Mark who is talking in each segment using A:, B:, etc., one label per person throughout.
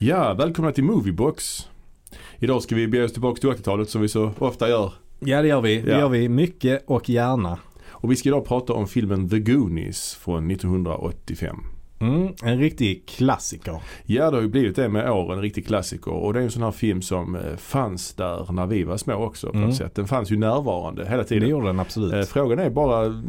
A: Ja, välkomna till Moviebox. Idag ska vi bege oss tillbaka till 80-talet som vi så ofta gör.
B: Ja det gör vi. Det
A: Ja.
B: gör vi mycket och gärna.
A: Och vi ska idag prata om filmen The Goonies från 1985.
B: Mm, en riktig klassiker.
A: Ja, det har ju blivit det med åren, en riktig klassiker. Och det är en sån här film som eh, fanns där när vi var små också på
B: Mm.
A: ett sätt. Den fanns ju närvarande hela
B: Det
A: tiden.
B: gjorde den
A: Eh,
B: absolut.
A: Frågan är bara mm,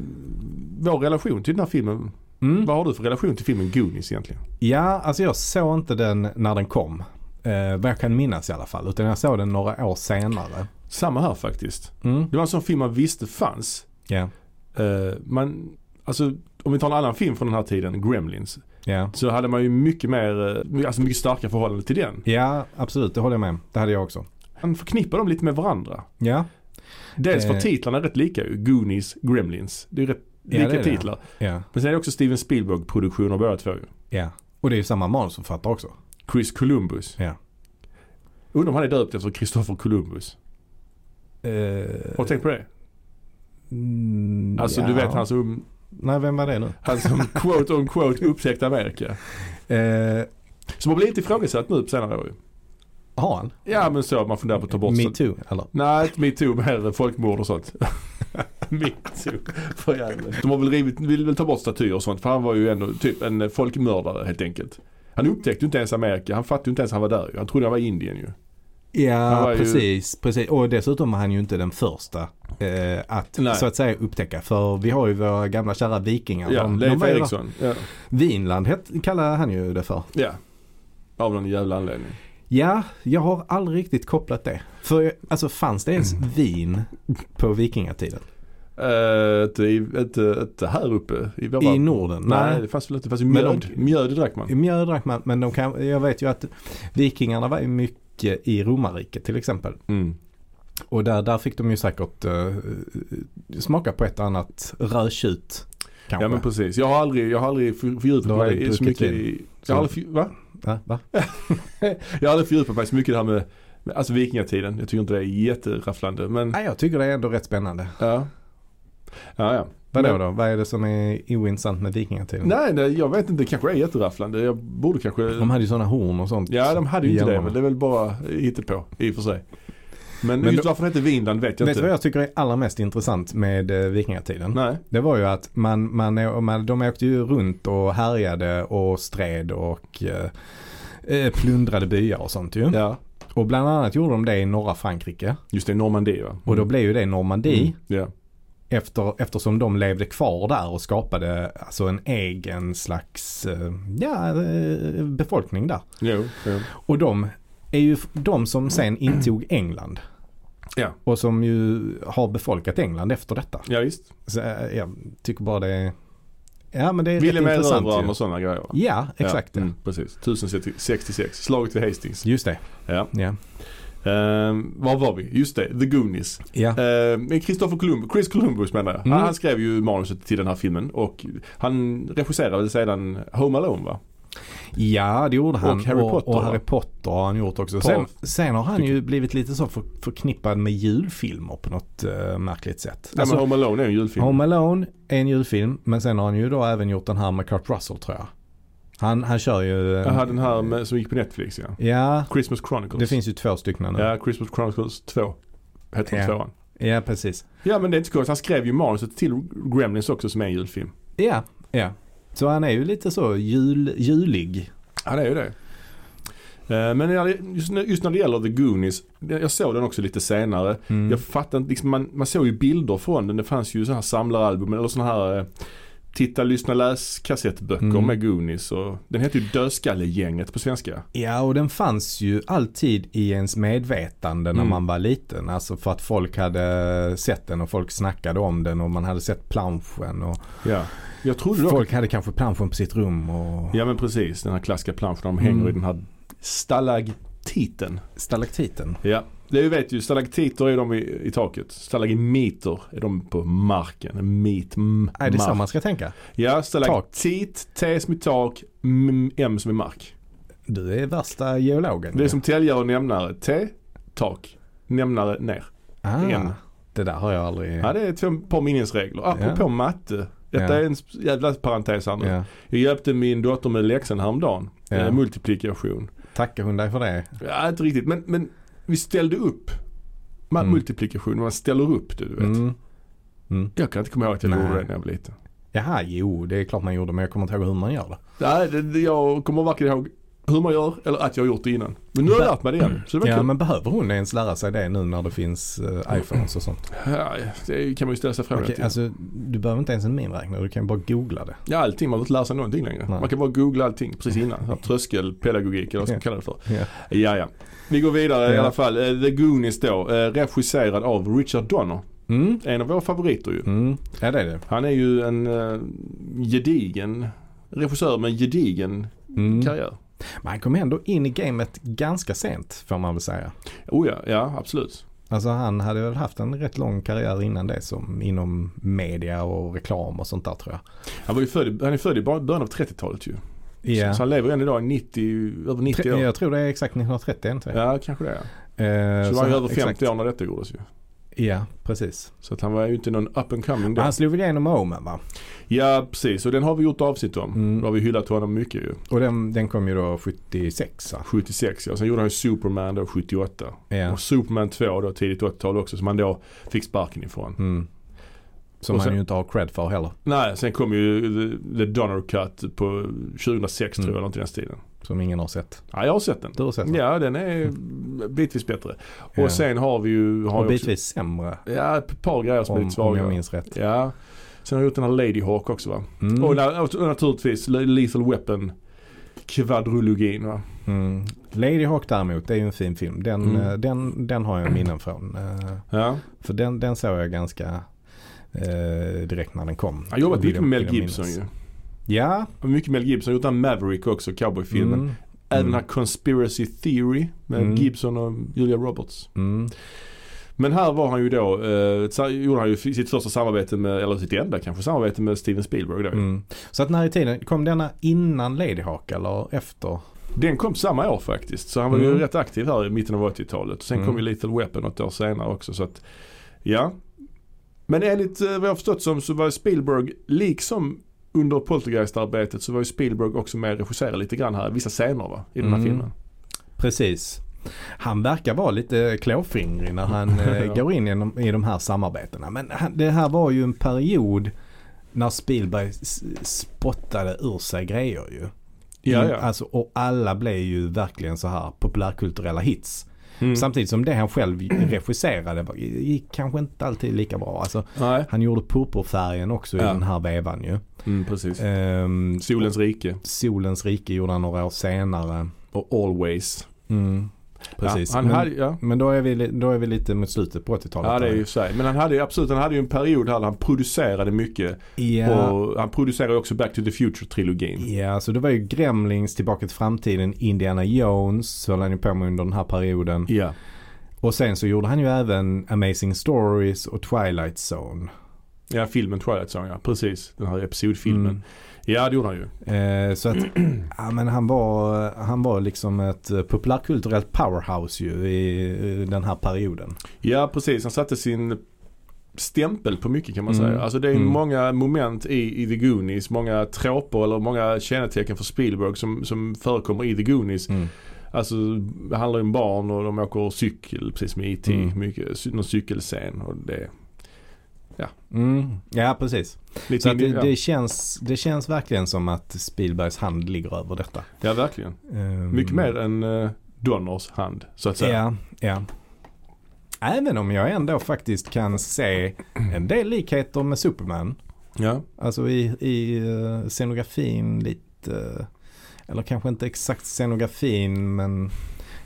A: vår relation till den här filmen.
B: Mm.
A: Vad har du för relation till filmen Goonies egentligen?
B: Ja, alltså jag såg inte den när den kom. Eh, vad jag kan minnas i alla fall. Utan jag såg den några år senare.
A: Samma här faktiskt.
B: Mm.
A: Det var en sån film man visste fanns.
B: Ja,
A: Eh, Man, alltså, om vi tar en annan film från den här tiden, Gremlins.
B: ja.
A: Så hade man ju mycket mer, eh, alltså mycket starkare förhållande till den.
B: Ja, absolut. Det håller jag med om. Det hade jag också.
A: Man förknippar dem lite med varandra.
B: Ja,
A: Dels för
B: Eh.
A: titlarna är rätt lika ju. Goonies, Gremlins. Det är ju rätt
B: Ja,
A: lika
B: det är det.
A: titlar.
B: ja,
A: Men sen är det också Steven Spielberg-produktioner båda två ju.
B: ja. Och det är ju samma manusförfattare också.
A: Chris Columbus.
B: Ja.
A: Undrar om han är döpt efter Christopher Columbus.
B: Eh,
A: Har du tänkt på det?
B: mm,
A: Alltså
B: ja.
A: du vet han som,
B: Nej, vem var det nu?
A: han som quote on quote upptäckte Amerika.
B: Eh,
A: Som har blivit ifrågasatt nu på senare år ju.
B: har han?
A: Ja men så, man funderar på att ta bort
B: Me
A: så-
B: too, eller?
A: Nej, inte metoo, mer folkmord och sånt. metoo, för jävlar. De har väl rivit, vill väl ta bort statyer och sånt för han var ju ändå typ en folkmördare helt enkelt. Han upptäckte ju inte ens Amerika, han fattade ju inte ens att han var där ju. Han trodde han var i Indien ju. Han var
B: Ja,
A: ju-
B: precis, precis. Och dessutom var han ju inte den första eh, att
A: Nej.
B: så att säga upptäcka. För vi har ju våra gamla kära vikingar.
A: Ja,
B: de, de
A: Leif
B: var ju-
A: Eriksson. Ja.
B: Vinland het, kallar han ju det för.
A: ja. Av någon jävla anledning.
B: Ja, jag har aldrig riktigt kopplat det. För alltså fanns det ens vin på vikingatiden?
A: Eh, Inte i- inte- inte här uppe i våra...
B: I Norden?
A: Nej, det fanns väl inte. Det fanns ju
B: Men
A: mjöd. Mjöd drack man.
B: Mjöd drack man, men de kan, jag vet ju att vikingarna var ju mycket i romarriket till exempel.
A: Mm.
B: Och där, där fick de ju säkert eh, smaka på ett annat rödtjut. Kanske.
A: Ja men precis. Jag har aldrig, jag har aldrig för-
B: Du
A: fördjupat
B: har
A: mig
B: aldrig
A: så
B: druckit
A: mycket
B: vin.
A: i... Jag har aldrig, för- va?
B: Ja, va?
A: Jag har aldrig fördjupat mig så mycket i det här med, med alltså vikingatiden. Jag tycker inte det är jätterafflande men
B: Nej, jag tycker det är ändå rätt spännande.
A: ja. Ja, ja.
B: Vadå
A: Men-
B: då? Vad är det som är ointressant med vikingatiden?
A: Nej, nej, jag vet inte. Det kanske är jätterafflande. Jag borde kanske...
B: De hade ju sådana horn och sånt.
A: ja, de hade ju inte det.
B: Hjälmarna.
A: Men det är väl bara på i och för sig. Men,
B: Men
A: just
B: då-
A: varför det heter Vinland vet jag
B: Vet du vad
A: inte.
B: jag tycker är allra mest intressant med eh, vikingatiden?
A: Nej.
B: Det var ju att man, man, å- man, de åkte ju runt och härjade och stred och eh, eh, plundrade byar och sånt ju.
A: Ja.
B: Och bland annat gjorde de det i norra Frankrike.
A: Just det, Normandie va? Mm.
B: Och då blev ju det Normandie.
A: Ja.
B: Efter, eftersom de levde kvar där och skapade alltså en egen slags eh, ja, eh, befolkning där.
A: Jo, jo.
B: Och de är ju f- de som sen intog England.
A: Ja.
B: Och som ju har befolkat England efter detta.
A: ja visst.
B: Så eh, jag tycker bara det är... Ja men det är
A: Wilhelm
B: rätt intressant
A: Erövraren
B: ju.
A: och sådana grejer va?
B: Ja, exakt.
A: Ja,
B: Ja.
A: mm, precis. 1066. Slaget vid Hastings.
B: Just det.
A: Ja.
B: Ja.
A: Ehm, var var vi? Just det, The Goonies.
B: Ja.
A: Eh, Christopher Columbus, Chris Columbus menar jag.
B: Mm.
A: Han, han skrev ju manuset till den här filmen och han regisserade sedan Home Alone va?
B: ja, det gjorde han.
A: Och Harry Potter,
B: och,
A: va?
B: Harry Potter har han gjort också.
A: Paul.
B: Sen, sen har han ju blivit lite så för, förknippad med julfilmer på något eh, märkligt sätt.
A: Nej, men Home Alone är ju en julfilm.
B: Home Alone är en julfilm men sen har han ju då även gjort den här med Kurt Russell tror jag. Han, han kör ju... eh, en-
A: Jaha, den här med, som gick på Netflix ja.
B: Ja,
A: Christmas Chronicles.
B: det finns ju två stycken nu. Ja,
A: Ja, Christmas Chronicles 2. Hette den
B: Ja.
A: tvåan.
B: precis.
A: Ja men det är inte så konstigt. Han skrev ju manuset till Gremlins också som är en julfilm.
B: Ja, ja. Så han är ju lite så jul, julig.
A: Han är ju det. Eh, Men när det- just när- just när det gäller The Goonies, jag såg den också lite senare.
B: Mm.
A: Jag fattar inte, liksom man, man såg ju bilder från den. Det fanns ju så här samlaralbum eller sådana här eh, titta, lyssna, läs kassettböcker
B: Mm.
A: med Goonies. Och, den heter ju Dödskallegänget på svenska.
B: Ja, och den fanns ju alltid i ens medvetande när
A: Mm.
B: man var liten. Alltså för att folk hade sett den och folk snackade om den och man hade sett planschen. Och
A: Oh, Ja. Jag trodde dock...
B: folk hade kanske planschen på sitt rum och
A: Ja men precis, den här klassiska planschen när de
B: Mm.
A: hänger i den här stalagtiten.
B: stalaktiten.
A: Ja, det vet ju stalaktiter är de i, i taket. Stalagmiter är de på marken. Mit, m,
B: Nej, det är så
A: mark.
B: man ska tänka.
A: Ja, stalaktit, T som i tak, m, m som i mark.
B: Du är värsta geologen.
A: Det är som täljare och nämnare. T, tak, nämnare, ner.
B: ah,
A: igen.
B: Det där har jag aldrig...
A: Ja, det är två par minnesregler. Apropå
B: Ja.
A: matte. Detta
B: Ja.
A: är en sp- jävla parentes Anders.
B: ja.
A: Jag hjälpte min dotter med läxan häromdagen.
B: Ja.
A: Eh, multiplikation.
B: Tackar hon dig för det?
A: Ja, inte riktigt. Men, men vi ställde upp. Man,
B: Mm.
A: Multiplikation, man ställer upp det du vet.
B: Mm. Mm.
A: Jag kan inte komma ihåg att jag
B: Nej.
A: gjorde det när jag var liten.
B: Jaha, jo det är klart man gjorde men jag kommer inte ihåg hur man gör det.
A: Nej, det, det, jag kommer varken ihåg hur man gör eller att jag har gjort det innan. Men nu har jag lärt mig det igen. Så det var
B: Mm. Ja
A: kul.
B: men behöver hon ens lära sig det nu när det finns eh, iPhones och sånt?
A: Ja, det kan man ju ställa sig frågan
B: Okej,
A: till.
B: alltså, du behöver inte ens en miniräknare, du kan bara googla det.
A: Ja, allting. Man behöver inte lära sig någonting längre.
B: Nej.
A: Man kan bara googla allting precis innan. Så här, Tröskelpedagogik eller vad ska man kallar det för.
B: Ja.
A: Ja, ja. Vi går vidare i
B: Ja.
A: alla fall. Eh, The Goonies då. eh, Regisserad av Richard Donner.
B: Mm.
A: En av våra favoriter ju.
B: Mm. ja det är det.
A: Han är ju en eh, gedigen regissör med en gedigen
B: Mm.
A: karriär.
B: Man kom ändå in i gamet ganska sent får man väl säga.
A: Oh ja, ja absolut.
B: Alltså han hade väl haft en rätt lång karriär innan det som inom media och reklam och sånt där tror jag.
A: Han, var ju född, i- han är född i början av 30-talet ju. Så, så han lever ju än idag 90, över 90
B: Tre-
A: år.
B: Jag tror det är exakt 1930 inte det?
A: Ja, kanske det. Ja.
B: Eh,
A: Så, var han ju
B: han-
A: över 50
B: exakt.
A: år när detta gjordes ju.
B: Ja, precis.
A: Så att han var ju inte någon up and coming då.
B: Han slog väl igenom Omen va?
A: Ja, precis. Och den har vi gjort avsnitt om.
B: Mm.
A: Då har vi hyllat honom mycket ju.
B: Och den, den kom ju då 76 va?
A: 76 ja. Sen gjorde han ju Superman då 78.
B: Ja.
A: Och Superman 2 då tidigt 80-tal också som han då fick sparken ifrån.
B: Mm. Som
A: Och
B: han
A: sen-
B: ju inte har cred för heller.
A: Nej, sen kom ju The, the Donner Cut på 2006 tror
B: Mm.
A: jag, eller något i den stilen.
B: Som ingen har sett.
A: Ja, jag har sett den.
B: Du har sett den? Mm.
A: Ja, den är bitvis bättre. Och
B: Ja.
A: sen har vi ju... Har jag
B: Och
A: också, Alltså
B: bitvis sämre.
A: ja, ett par grejer som är
B: Om,
A: lite
B: om jag
A: svaga.
B: minns rätt.
A: Ja. Sen har jag gjort den här Lady Hawk också va.
B: Mm.
A: Och, na- och naturligtvis Lethal Weapon kvadrologin va.
B: Mm. Lady Hawk däremot, det är ju en fin film. Den,
A: Mm.
B: eh, den, den har jag minnen från. Eh,
A: Ja.
B: För den, den såg jag ganska eh, direkt när den kom.
A: Han har jobbat
B: Vill
A: mycket
B: jag-
A: med
B: vill
A: Mel
B: jag
A: Gibson
B: minnas.
A: ju.
B: Ja.
A: Och Mycket Mel Gibson. Har gjort den här Maverick också, cowboyfilmen.
B: Mm.
A: Även den
B: Mm.
A: här Conspiracy Theory med
B: Mm.
A: Gibson och Julia Roberts.
B: Mm.
A: Men här var han ju då, eh, sa- gjorde han ju f- sitt första samarbete med, eller sitt enda kanske samarbete med Steven Spielberg då. ju.
B: Mm. Så att när i tiden, kom denna innan Lady Hawk eller efter?
A: Den kom samma år faktiskt. Så han var ju
B: Mm.
A: rätt aktiv här i mitten av 80-talet. Sen kom
B: Mm.
A: ju Little Weapon något år senare också. Så att, ja. Men enligt eh, vad jag har förstått som så var Spielberg, liksom under Poltergeist-arbetet så var ju Spielberg också med och regisserade lite grann här, vissa scener va, i den här
B: Mm.
A: filmen.
B: Precis. Han verkar vara lite klåfingrig när han
A: Ja.
B: eh, går in i de, i de här samarbetena. Men han, det här var ju en period när Spielberg s- spottade ur sig grejer ju.
A: Ja, ja.
B: Alltså, och alla blev ju verkligen så här populärkulturella hits.
A: Mm.
B: Samtidigt som det han själv regisserade var- gick kanske inte alltid lika bra. Alltså,
A: Nej.
B: han gjorde purpurfärgen också
A: Ja.
B: i den här vevan ju.
A: Mm, precis.
B: Ehm,
A: Solens rike
B: Solens rike gjorde han några år senare.
A: och Always.
B: Mm, precis.
A: Ja, han
B: Men-
A: hade, ja.
B: Men då är vi, li- då är vi lite mot slutet på 80-talet.
A: ja, det är ju så. här. Men han hade ju absolut, han hade ju en period här där han producerade mycket.
B: ja,
A: Och han producerade också Back to the Future-trilogin.
B: ja, så det var ju Gremlings, Tillbaka till framtiden, Indiana Jones så höll han ju på med under den här perioden.
A: Ja.
B: Och sen så gjorde han ju även Amazing Stories och Twilight Zone.
A: Ja, filmen Twilight Zone ja. Precis, den här episodfilmen.
B: Mm.
A: Ja, det gjorde han ju.
B: Eh, så att, ja men han var, han var liksom ett eh, populärkulturellt powerhouse ju i eh, den här perioden.
A: Ja, precis. Han satte sin stämpel på mycket kan man
B: Mm.
A: säga. Alltså det är
B: Mm.
A: många moment i, i The Goonies, många tråpor eller många kännetecken för Spielberg som, som förekommer i The Goonies. Alltså det handlar ju om barn och de åker cykel precis som i E.T.
B: Mm.
A: Mycket, cy- någon cykelscen och det.
B: Mm. Ja precis.
A: Lite
B: Så att
A: in i-
B: det, det, känns, det känns verkligen som att Spielbergs hand ligger över detta.
A: ja. ja, verkligen.
B: Ehm,
A: Mycket mer än uh, Donners hand så att säga.
B: Ja, ja. Även om jag ändå faktiskt kan se en del likheter med Superman.
A: Ja.
B: Alltså i, i eh, scenografin lite. eh, Eller kanske inte exakt scenografin men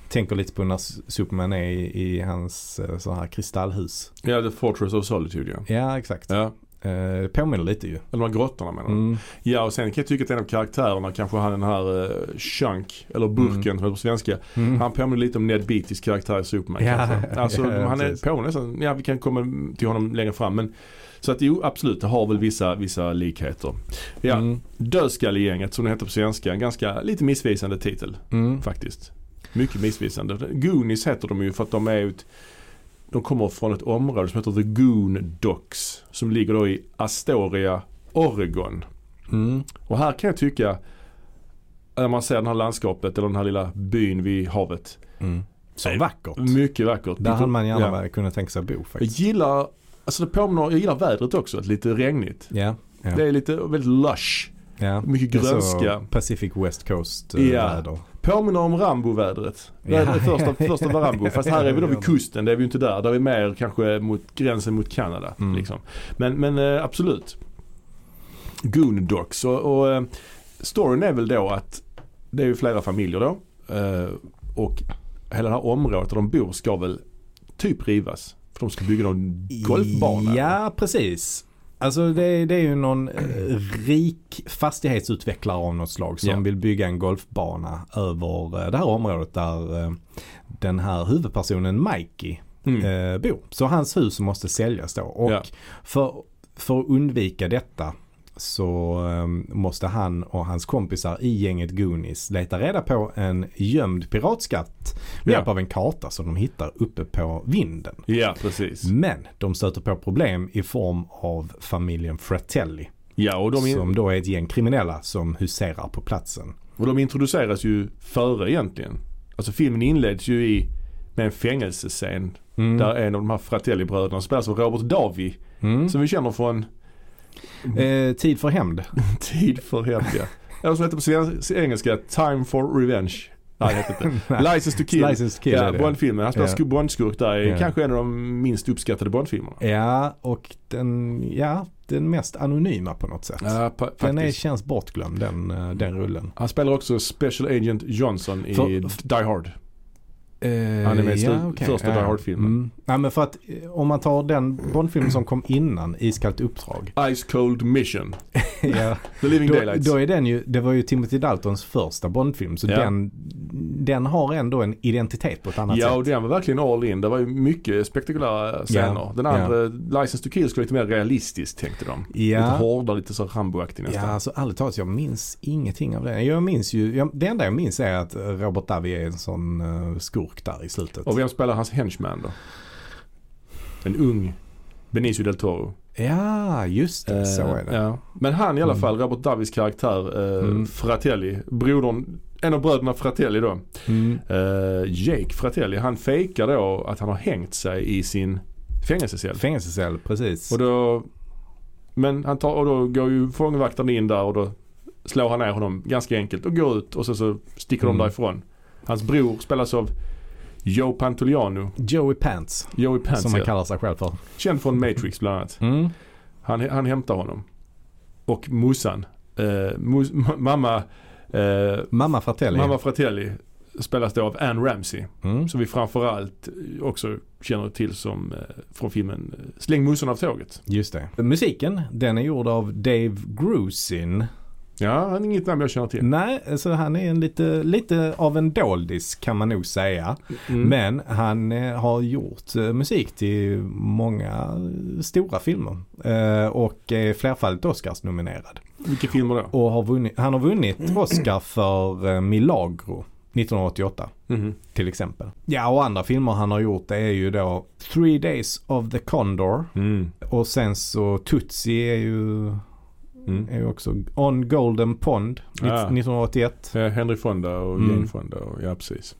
B: tänker lite på när S- Superman är i, i hans eh, så här kristallhus.
A: ja, The Fortress of Solitude ja.
B: Ja, exakt.
A: ja.
B: Eh, Det påminner lite ju.
A: Eller de här grottorna menar du?
B: Mm.
A: Ja och sen kan jag tycka att en av karaktärerna kanske han den här eh, Chunk eller Burken
B: Mm.
A: som heter på svenska. Han påminner lite om Ned Beatys karaktär i Superman.
B: Ja,
A: kanske. Alltså
B: ja,
A: han är
B: precis.
A: påminner nästan, ja vi kan komma till honom längre fram. Men, så att jo absolut det har väl vissa, vissa likheter. Ja,
B: Mm.
A: Dödskallegänget som det heter på svenska. En ganska lite missvisande titel
B: Mm.
A: faktiskt. Mycket missvisande. Goonies heter de ju för att de är ut de kommer från ett område som heter The Goon Docks. Som ligger då i Astoria, Oregon.
B: Mm.
A: Och här kan jag tycka när man ser det här landskapet eller den här lilla byn vid havet.
B: Mm. Så
A: Nej.
B: vackert.
A: Mycket vackert.
B: Där hade man
A: Ja.
B: gärna kunnat tänka sig att bo
A: Jag
B: faktiskt.
A: gillar, alltså det påminner, jag gillar vädret också. Lite regnigt.
B: Ja. Ja.
A: Det är lite väldigt lush.
B: ja.
A: Mycket
B: Det är så
A: grönska.
B: Alltså, Pacific West Coast
A: Ja.
B: eh, väder.
A: Påminner om Rambo-vädret.
B: Ja.
A: Vädret första, första var Rambo. Fast här är vi då
B: Ja.
A: vid kusten. Det är vi inte där. Där är vi mer kanske mot gränsen mot Kanada.
B: Mm.
A: Liksom. Men, men eh, absolut. Goondocks. Och, och eh, storyn är väl då att det är ju flera familjer då. eh, Och hela det här området där de bor ska väl typ rivas. För de ska bygga någon golfbana.
B: Ja, precis. Alltså det, det är ju någon eh, rik fastighetsutvecklare av något slag som
A: Ja.
B: vill bygga en golfbana över eh, det här området där eh, den här huvudpersonen Mikey
A: Mm.
B: eh, bor. Så hans hus måste säljas då. Och
A: Ja.
B: för, för att undvika detta så eh, måste han och hans kompisar i gänget Goonies leta reda på en gömd piratskatt med
A: Ja.
B: hjälp av en karta som de hittar uppe på vinden.
A: ja, precis.
B: Men de stöter på problem i form av familjen Fratelli.
A: Ja, och de,
B: Som då är ett gäng kriminella som huserar på platsen.
A: Och de introduceras ju före egentligen. Alltså filmen inleds ju i med en fängelsescen
B: Mm.
A: där en av de här Fratelli-bröderna spelas av Robert Davi
B: Mm.
A: som vi känner från
B: Eh, tid för hämnd.
A: Tid för hemliga. Eller som heter på svenska, engelska Time for Revenge. Nej, det heter inte. License to kill.
B: License to kill
A: ja,
B: är det.
A: Bondfilmen. Han spelar
B: Ja.
A: yeah. Bondskurk där. är
B: Ja.
A: Kanske en av de minst uppskattade Bondfilmerna.
B: Ja, och den, ja, den mest anonyma på något sätt.
A: Ja, pa-
B: den är,
A: faktiskt.
B: känns bortglömd den, eh, den rullen.
A: Han spelar också Special Agent Johnson i
B: För-
A: Die Hard. Eh, Han är med i slut- första Die Hard-filmen.
B: Mm. Ja, men för att eh, om man tar den Bondfilm som kom innan, Iskallt uppdrag.
A: Ice Cold Mission.
B: ja,
A: The Living
B: då,
A: Daylights.
B: då är den ju, det var ju Timothy Daltons första Bondfilm. Så
A: Ja.
B: den, den har ändå en identitet på ett annat
A: Ja
B: sätt.
A: och den var verkligen all in. Det var ju mycket spektakulära scener.
B: Ja,
A: Den andra, License to Kill, skulle vara lite mer realistiskt tänkte de.
B: Ja.
A: Lite hårdare, lite så Rambo-aktig
B: Ja,
A: nästan.
B: alltså ärligt talat, jag minns ingenting av det. Jag minns ju, jag, det enda jag minns är att eh, Robert Davi är en sån eh, skurk där i slutet.
A: Och vem spelar hans henchman då? En ung Benicio del Toro.
B: Ja, just det. så är det.
A: Eh, Ja. Men han i alla
B: Mm.
A: fall, Robert Davis karaktär, eh,
B: Mm.
A: Fratelli, brodern, en av bröderna Fratelli då.
B: Mm.
A: Eh, Jake Fratelli, han fejkar då att han har hängt sig i sin fängelsecell.
B: Fängelsecell, precis.
A: Och då, men han tar, och då går ju fångvaktaren in där och då slår han ner honom ganska enkelt och går ut och så, så sticker
B: Mm.
A: de därifrån. Hans bror spelas av Joe Pantoliano,
B: Joey Pants,
A: Joey Pants,
B: som han
A: ja.
B: kallar sig själv för.
A: känd från Matrix bland annat.
B: Mm.
A: Han, han hämtar honom. Och Musan, eh, mus, ma- mamma, eh,
B: Mamma Fratelli.
A: mamma Fratelli spelas då av Ann Ramsey.
B: Mm.
A: Som vi framförallt också känner till som eh, från filmen eh, Släng musen av tåget.
B: Just det. Musiken, den är gjord av Dave Grusin.
A: Ja, han är inget namn jag känner till.
B: Nej, alltså han är en lite, lite av en doldis kan man nog säga.
A: Mm.
B: Men han eh, har gjort eh, musik till många eh, stora filmer. Eh, och är flerfaldigt Oscars-nominerad.
A: Vilka filmer då?
B: Och har vunnit, han har vunnit Oscar för eh, Milagro 1988
A: Mhm.
B: till exempel. Ja, och andra filmer han har gjort det är ju då Three Days of the Condor. Och sen så Tutsi är ju,
A: Mm.
B: är ju också On Golden Pond
A: Ah.
B: 1981.
A: Eh, Henry Fonda och
B: Mm.
A: Jane Fonda. Och, ja, precis.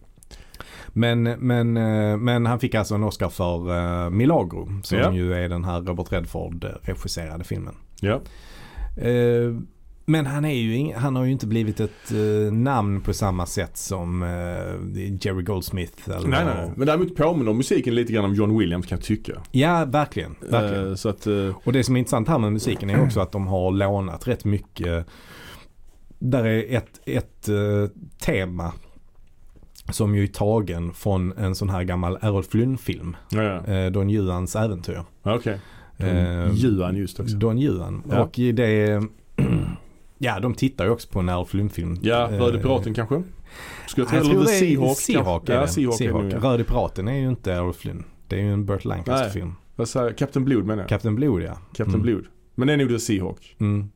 B: Men, men, eh, men han fick alltså en Oscar för eh, Milagro som
A: Ja.
B: ju är den här Robert Redford eh, regisserade filmen.
A: Ja.
B: Eh, Men han, är ju ing- han har ju inte blivit ett eh, namn på samma sätt som eh, Jerry Goldsmith. Eller
A: Nej, nej, nej. Men däremot påminner musiken lite grann om John Williams kan jag tycka.
B: Ja, verkligen. verkligen.
A: Eh, så att, eh,
B: Och det som är intressant här med musiken är också att de har lånat rätt mycket. Där är ett, ett eh, tema som ju är tagen från en sån här gammal Errol Flynn-film.
A: ja, ja.
B: Eh, Don Juans äventyr.
A: Ja, Okej.
B: Eh,
A: Juan just också.
B: Don Juan.
A: Ja.
B: Och i det... Ja, de tittar ju också på en Errol Flynn-film.
A: Ja,
B: Eh,
A: Röde Piraten kanske? Skulle
B: jag tror
A: eller
B: det
A: The
B: är
A: Seahawk.
B: Seahawk
A: kanske?
B: är
A: ja,
B: det.
A: Seahawk. är det nog,
B: Seahawk.
A: ja.
B: Röde Piraten är ju inte Errol Flynn. Det är ju en Burt Lancaster-film.
A: Vad säger jag? Captain Blood menar jag.
B: Captain Blood ja.
A: Captain
B: Mm.
A: Blood. Men det är nog The Seahawk.
B: Mm.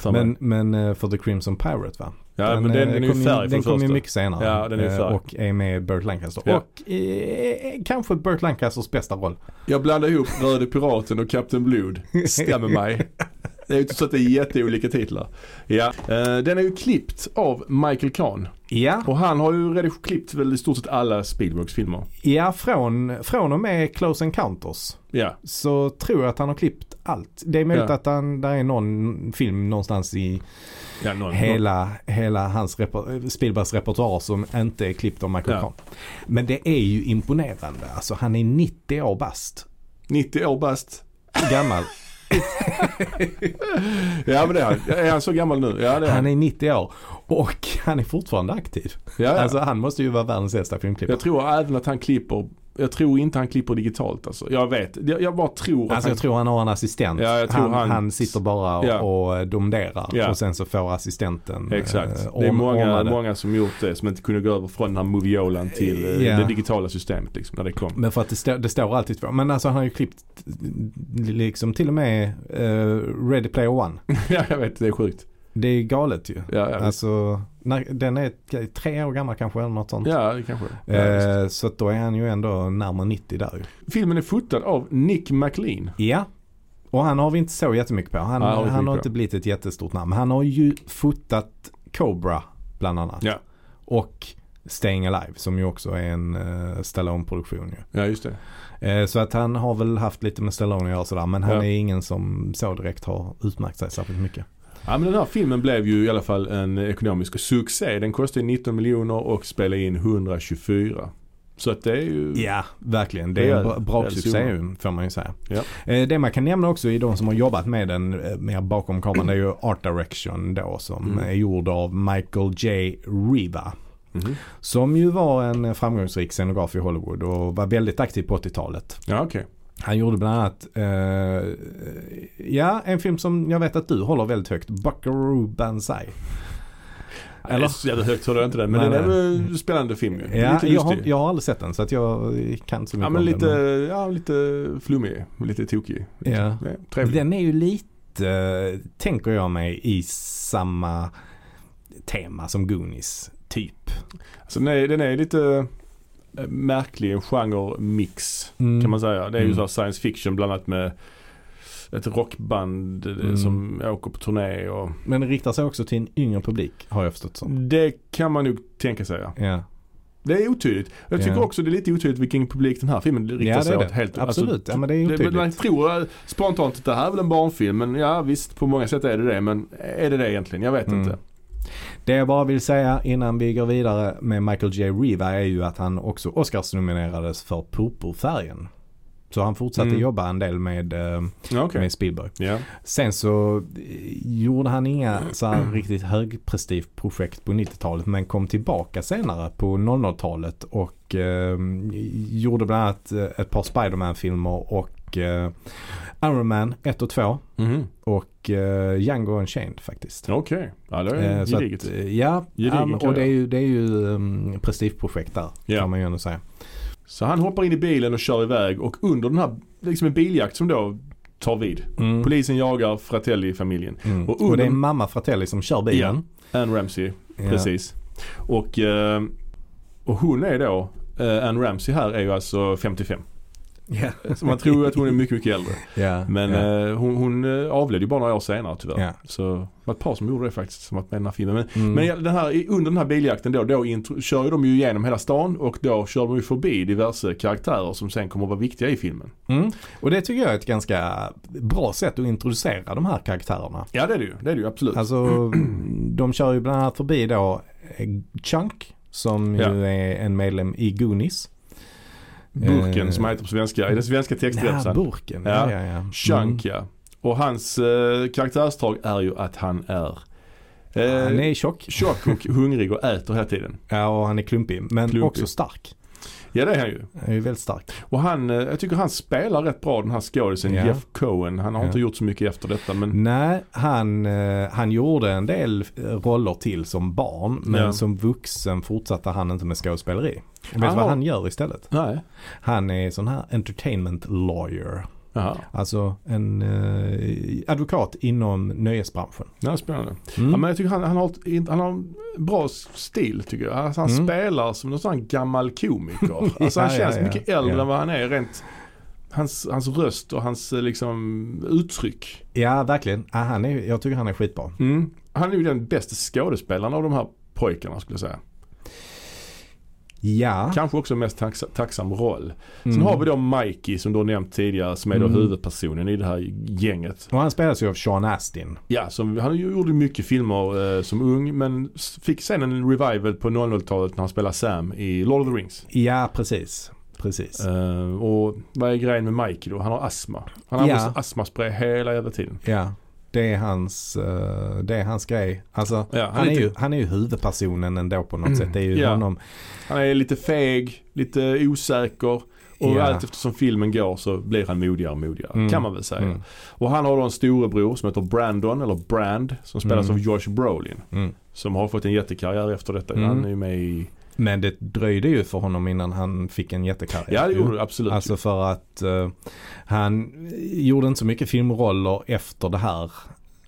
A: Samma.
B: Men, men eh, för The Crimson Pirate va?
A: ja, men den,
B: eh,
A: den är ju
B: kom
A: färg
B: Den
A: från
B: kom ju
A: första.
B: mycket senare.
A: Ja, den är ju
B: eh,
A: färg.
B: Och är med Burt Lancaster.
A: Ja.
B: Och eh, kanske Burt Lancasters bästa roll.
A: Jag blandar ihop Röde Piraten och Captain Blood. Stämmer mig. Det är ju inte så att det är jätteolika titlar. Ja. Eh, Den är ju klippt av Michael Kahn.
B: Ja,
A: Och han har ju redan klippt väl i stort sett alla Spielbergs filmer.
B: ja från, från och med Close Encounters
A: Ja,
B: så tror jag att han har klippt allt. Det är möjligt
A: Ja.
B: att han, där är någon film någonstans i
A: ja någon,
B: hela, hela hans reper- Spielbergs repertoar som inte är klippt av Michael
A: Ja.
B: Kahn. Men det är ju imponerande. Alltså han är 90 år bast.
A: 90 år bast.
B: Gammal.
A: Ja men det är han. Är han så gammal nu? Ja det är han.
B: Han är 90 år och han är fortfarande aktiv.
A: Ja, ja.
B: Alltså han måste ju vara världens äldsta filmklippare.
A: Jag tror även att han klipper, jag tror inte han klipper digitalt alltså. Jag vet, jag, jag bara tror att
B: Alltså jag
A: han,
B: tror han har en assistent.
A: Ja, jag tror
B: han,
A: han-
B: han sitter bara och,
A: Ja.
B: och domderar
A: Ja.
B: och sen så får assistenten
A: Exakt.
B: eh,
A: det är
B: ordn-
A: många,
B: ordna det.
A: många som gjort det som inte kunde gå över från den här Moviolan till eh,
B: Ja.
A: det digitala systemet liksom, när det kom.
B: Men för att det, stå, det står alltid två. Men alltså han har ju klippt liksom till och med eh, Ready Player One.
A: ja jag vet, det är sjukt.
B: Det är galet ju.
A: Ja, ja,
B: Alltså när, den är ett- tre år gammal kanske eller något sånt.
A: ja det kanske. Ja, visst.
B: Eh, så att då är han ju ändå närmare 90 där ju.
A: Filmen är fotad av Nick McLean.
B: Ja. Och han har vi inte så jättemycket på. Han,
A: Ja, han har
B: han,
A: inte
B: har
A: mycket på.
B: inte blivit ett jättestort namn. Han har ju fotat Cobra bland annat.
A: Ja.
B: Och Staying Alive som ju också är en uh, Stallone-produktion ju.
A: Ja just det.
B: Eh, så att han har väl haft lite med Stallone att göra sådär. Men han
A: Ja.
B: är ingen som så direkt har utmärkt sig särskilt mycket.
A: Ja men den här filmen blev ju i alla fall en ekonomisk succé. Den kostade 19 miljoner och spelade in 124. Så att det är ju...
B: Ja, verkligen.
A: Det
B: Det är
A: är-
B: en bra-
A: det
B: bra
A: är
B: succé
A: summa.
B: ju, får man ju säga.
A: Ja.
B: Eh, Det man kan nämna också i de som har jobbat med den eh, mer bakom kameran det är ju Art Direction då som
A: Mm.
B: är gjord av Michael J. Riva.
A: Mhm.
B: Som ju var en framgångsrik scenograf i Hollywood och var väldigt aktiv på 80-talet.
A: Ja okej.
B: Han gjorde bland annat, eh, ja en film som jag vet att du håller väldigt högt, Buckaroo Banzai.
A: Mm, Eller? Det är så jävla högt håller jag inte den. Men
B: Nej,
A: den är
B: nej. Mm.
A: väl en spännande film ju.
B: Ja,
A: lite
B: jag, har,
A: lustig.
B: jag har aldrig sett den så att jag kan inte så mycket
A: Ja men
B: om
A: lite,
B: den.
A: ja, lite flummig, lite tokig.
B: men- Ja.
A: Ja, trevlig.
B: Den är ju lite, eh, tänker jag mig, i samma tema som Goonies. Typ.
A: Alltså, den, är, den är lite eh, märklig, en genre-mix kan man säga. Det är ju
B: Mm.
A: så här science fiction bland annat med ett rockband eh,
B: Mm.
A: som åker på turné och
B: Men det riktar sig också till en yngre publik har jag förstått som.
A: det kan man nog tänka sig ja.
B: Ja,
A: Det är otydligt. Jag tycker
B: Ja.
A: också det är lite otydligt vilken publik den här filmen riktar
B: ja det
A: sig
B: är
A: åt.
B: det.
A: Helt, alltså,
B: Absolut, ja, men det är ju
A: Det, man
B: tydligt.
A: tror eh, spontant att det här är väl en barnfilm men ja visst på många sätt är det det men är det det egentligen? Jag vet
B: Mm.
A: inte.
B: Det jag bara vill säga innan vi går vidare med Michael J. Riva är ju att han också Oscars-nominerades för Purpurfärgen. Så han fortsatte
A: Mm.
B: jobba en del med, eh,
A: Ja, Okej.
B: med Spielberg.
A: Ja.
B: Sen så eh, gjorde han inga så här riktigt högprestigeprojekt på 90-talet men kom tillbaka senare på 00-talet och eh, gjorde bland annat eh, ett par Spiderman-filmer och eh, Iron Man 1 och 2
A: Mhm.
B: och eh, Django Unchained faktiskt.
A: Okej. Ja det är
B: Eh, så
A: gediget.
B: att, eh, ja,
A: Gedigen
B: ja, men- och
A: karriär.
B: det är ju, det är ju um, prestigeprojekt där
A: Ja.
B: kan man ju ändå säga.
A: Så han hoppar in i bilen och kör iväg och under den här, liksom en biljakt som då tar vid.
B: Mm.
A: Polisen jagar Fratelli-familjen.
B: Mm.
A: och
B: Och,
A: under-
B: det är mamma Fratelli som kör bilen.
A: Ann Ramsey,
B: Ja.
A: precis. Och, eh, och hon är då, eh, Ann Ramsey här är ju alltså 55.
B: Ja.
A: Så man tror ju att hon är mycket, mycket äldre.
B: Ja.
A: Men
B: ja.
A: eh, hon, hon eh, avled ju bara några år senare tyvärr.
B: Ja.
A: Så det var ett par som gjorde det faktiskt som att med i den här filmen. Men,
B: Mm.
A: men den här, i- under den här biljakten då, då intro, kör ju de ju igenom hela stan och då kör de ju förbi diverse karaktärer som sen kommer att vara viktiga i filmen.
B: Mm. Och det tycker jag är ett ganska bra sätt att introducera de här karaktärerna.
A: Ja det är det ju, det är det ju absolut.
B: Alltså de kör ju bland annat förbi då eh, Chunk som
A: Ja.
B: ju är en medlem i Goonies.
A: Burken
B: eh,
A: som han heter på svenska, i den svenska
B: Ja,
A: textremsan.
B: burken.
A: Ja.
B: Ja, ja, ja.
A: Chunk
B: Mm.
A: ja. Och hans eh, karaktärsdrag är ju att han är
B: Mm.
A: eh,
B: Han är tjock.
A: tjock och hungrig och äter hela tiden.
B: Ja, och han är klumpig. Men
A: Klumpig.
B: också stark.
A: Ja det är han ju.
B: Han är ju väldigt stark.
A: Och han, eh, jag tycker han spelar rätt bra den här skådisen
B: Ja.
A: Jeff Cohen. Han har
B: Ja.
A: inte gjort så mycket efter detta men
B: Nej, han, eh, han gjorde en del eh, roller till som barn. Men
A: Ja.
B: som vuxen fortsatte han inte med skådespeleri. Vet du
A: har-
B: vad han gör istället?
A: nej.
B: Han är sån här entertainment lawyer.
A: Jaha,
B: Alltså en eh, advokat inom nöjesbranschen.
A: ja, spännande.
B: Mm.
A: Ja, men jag tycker han, han, har, ett- in- han har en bra stil tycker jag. Alltså, han
B: Mm.
A: spelar som någon sån här gammal komiker. Alltså han
B: Ja, ja,
A: känns
B: ja.
A: mycket äldre
B: Ja.
A: än vad han är rent Hans, hans röst och hans eh, liksom, uttryck.
B: Ja, verkligen. Ja, han är, jag tycker han är skitbra.
A: Mm. Han är ju den bästa skådespelaren av de här pojkarna skulle jag säga.
B: Ja.
A: Kanske också mest taxa, tacksam roll. Sen
B: Mm.
A: har vi då Mikey som du har nämnt tidigare som är då
B: Mm.
A: huvudpersonen i det här gänget.
B: Och han spelas ju av Sean Astin.
A: Ja, som, han gjorde mycket filmer eh, som ung men s- fick sen en revival på 00-talet när han spelade Sam i Lord of the Rings.
B: Ja, precis. Precis.
A: Eh, och vad är grejen med Mikey då? Han har astma. Han
B: Ja.
A: använder astmaspray hela jävla tiden.
B: Ja. Det är hans, eh, det är hans grej. Alltså,
A: Ja,
B: han, är ju, han är ju huvudpersonen ändå på något
A: Mm.
B: sätt. Det är ju
A: Ja.
B: honom.
A: Han är lite feg, lite osäker. Och
B: Ja.
A: allt eftersom filmen går så blir han modigare och modigare.
B: Mm.
A: Kan man väl säga.
B: Mm.
A: Och han har då en storebror som heter Brandon, eller Brand, som spelas
B: Mm.
A: av George Brolin.
B: Mm.
A: Som har fått en jättekarriär efter detta.
B: Mm.
A: Han är ju med i...
B: Men det dröjde ju för honom innan han fick en jättekarriär.
A: Ja det gjorde det absolut.
B: Alltså för att eh, han gjorde inte så mycket filmroller efter det här.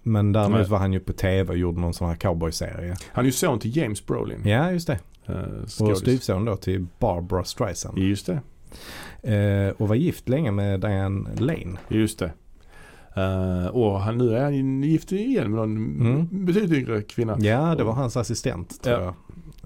B: Men däremot
A: Nej.
B: var han ju på tv och gjorde någon sån här cowboyserie.
A: Han är ju son till James Brolin.
B: Ja, just det.
A: eh, skådis.
B: Och styvson då till Barbara Streisand.
A: Just det.
B: Eh, och var gift länge med Diane Lane.
A: Just det. Eh, och han, nu är han gift igen med någon
B: Mm.
A: betydligt yngre kvinna.
B: Ja, det var hans assistent tror
A: Ja.
B: jag.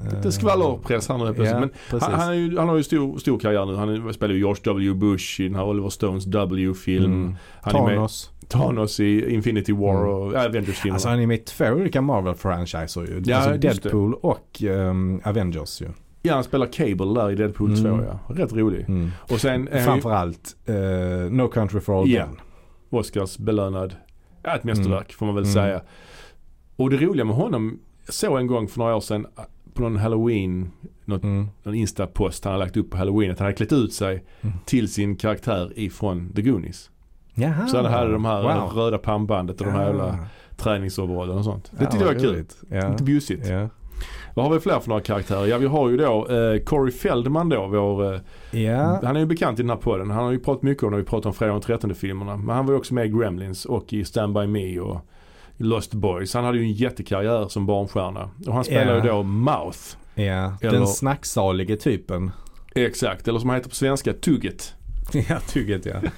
B: Eh,
A: Lite skvallerpress här nu plötsligt.
B: Ja,
A: Men
B: precis.
A: Han, han, är ju, han har ju stor, stor karriär nu. Han spelar ju George W. Bush i den här Oliver Stones W-film.
B: Mm.
A: Han är med
B: Thanos.
A: Thanos i Infinity War
B: Mm.
A: och Avengers-filmerna.
B: Alltså han är med i två olika Marvel-franchiser ju.
A: Ja,
B: alltså
A: just det.
B: Deadpool och ehm, Avengers ju.
A: ja, han spelar Cable där i Deadpool
B: Mm.
A: 2 ja. Rätt rolig.
B: Mm.
A: Och sen är han ju
B: Framförallt eh, No Country for Old
A: Ja.
B: Men.
A: Oscarsbelönad. Ja, ett mästerverk får man väl
B: Mm.
A: säga. Och det roliga med honom, jag såg en gång för några år sedan eh, på någon halloween,
B: Mm.
A: någon instapost han hade lagt upp på halloween att han hade klätt ut sig
B: Mm.
A: till sin karaktär ifrån The Goonies.
B: Jaha.
A: Så han hade de här
B: Ah. wow. Ah.
A: röda pannbandet och de här jävla
B: Ja.
A: träningsoverallen och sånt. Det
B: Ja,
A: tyckte jag var
B: vad
A: kul.
B: roligt. Ja.
A: Lite bjussigt.
B: Ja.
A: Vad har vi fler för några karaktärer? Ja vi har ju då eh, Corey Feldman då, vår, eh,
B: ja.
A: han är ju bekant i den här podden. Han har ju pratat mycket om när vi pratar om Fredag den 13 filmerna. Men han var ju också med i Gremlins och i Stand By Me och Lost Boys. Han hade ju en jättekarriär som barnstjärna. Och han spelar
B: Ja.
A: ju då Mouth.
B: ja.
A: Eller-
B: Den snacksalige typen.
A: Exakt, eller som han heter på svenska, Tugget.
B: ja, tugget ja. ja.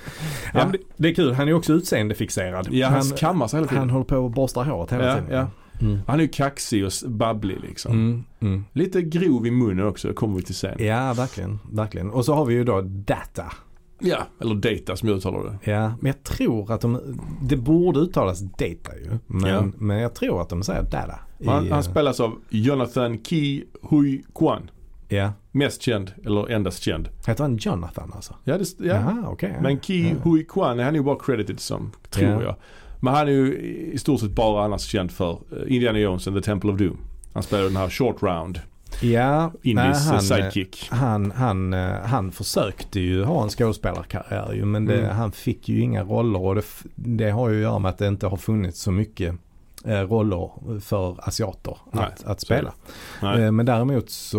A: Ja.
B: men det, det är kul, han är också utseendefixerad.
A: Ja, han,
B: han,
A: kammar sig hela tiden.
B: han
A: Han,
B: håller på och borstar håret hela
A: Ja,
B: tiden.
A: ja.
B: Mm.
A: är ju kaxig och s- babblig liksom.
B: Mm, mm.
A: Lite grov i munnen också, det kommer vi till sen.
B: Ja, verkligen. verkligen. Och så har vi ju då Data.
A: Ja, eller Data som jag uttalar det.
B: Ja, men jag tror att de, det borde uttalas Data ju. Men,
A: Ja.
B: men jag tror att de säger Data. i,
A: Han,
B: eh,
A: han spelas av Jonathan Ki Hui Kwan.
B: ja.
A: Mest känd, eller endast känd.
B: Heter han Jonathan alltså?
A: Ja, det, ja.
B: Jaha, okej. ja.
A: Men Ki
B: ja.
A: Hui Kwan är han ju bara credited som, tror
B: Ja.
A: jag. Men han är ju i stort sett bara annars känd för eh, Indiana Jones and the Temple of Doom. Han spelar den här Short Round,
B: Ja, nej,
A: Indies eh,
B: han,
A: sidekick.
B: Han, han, eh, han försökte ju ha en skådespelarkarriär ju, men det,
A: Mm.
B: han fick ju inga roller och det, f- det har ju att göra med att det inte har funnits så mycket eh, roller för asiater
A: Nej,
B: att, att spela.
A: Nej.
B: Eh, Men däremot så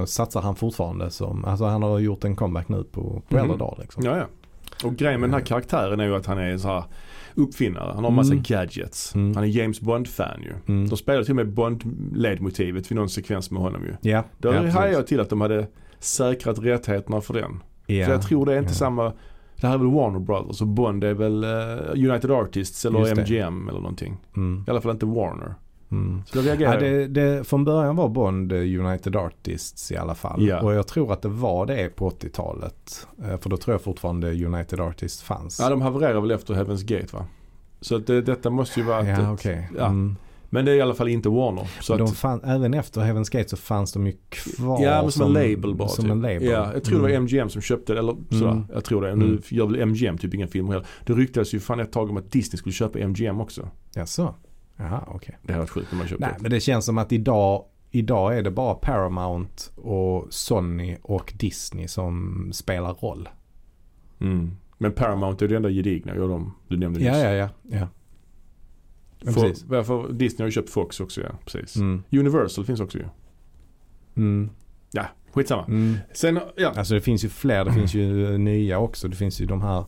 B: eh, satsar han fortfarande som, alltså han har gjort en comeback nu på, på
A: Mhm.
B: äldre dagar liksom.
A: Ja, ja. Och grejen med den här karaktären är ju att han är en så här uppfinnare. Han har massa
B: Mm.
A: gadgets.
B: Mm.
A: Han är James Bond-fan ju.
B: Mm.
A: De spelar till och med Bond-ledmotivet vid någon sekvens med honom ju.
B: Ja,
A: Då
B: ja,
A: hajade
B: precis.
A: jag till att de hade säkrat rättigheterna för den.
B: ja.
A: För jag tror det är inte
B: ja.
A: samma. Det här är väl Warner Brothers och Bond är väl eh, United Artists eller
B: Just det.
A: MGM eller någonting.
B: Mm.
A: I alla fall inte Warner.
B: Mm.
A: Så då reagerar
B: Ja,
A: jag.
B: det, det, från början var Bond eh, United Artists i alla fall.
A: Ja.
B: Och jag tror att det var det på 80-talet. Eh, För då tror jag fortfarande United Artists fanns.
A: Ja, de havererar väl efter Heaven's Gate va? Så att det, detta måste ju vara... ett-
B: ja, okej.
A: ja.
B: Mm.
A: Men det är i alla fall inte Warner. Så
B: De
A: att,
B: fann, även efter Heaven's Gate så fanns de ju kvar.
A: ja, men som, en label bara.
B: Som
A: typ.
B: en label.
A: Ja, jag tror det var MGM som köpte det. Eller sådär.
B: Mm.
A: Jag tror det. Nu
B: Mm.
A: gör väl MGM typ inga filmer heller. Det ryktades ju fan ett tag om att Disney skulle köpa MGM också.
B: Jaså? Jaha, okej.
A: Det här var sjukt när man köpte
B: Nej,
A: det.
B: men det känns som att idag, idag är det bara Paramount och Sony och Disney som spelar roll.
A: Mm. Men Paramount är det enda gedigna. Ja, de, du nämnde
B: Ja,
A: nyss.
B: ja, ja. ja. ja
A: För,
B: precis.
A: varför, Disney har ju köpt Fox också ja, precis.
B: Mm.
A: Universal finns också ju.
B: Mm.
A: Ja, skitsamma.
B: Mm.
A: Sen, ja.
B: Alltså det finns ju fler, det finns ju nya också. Det finns ju de här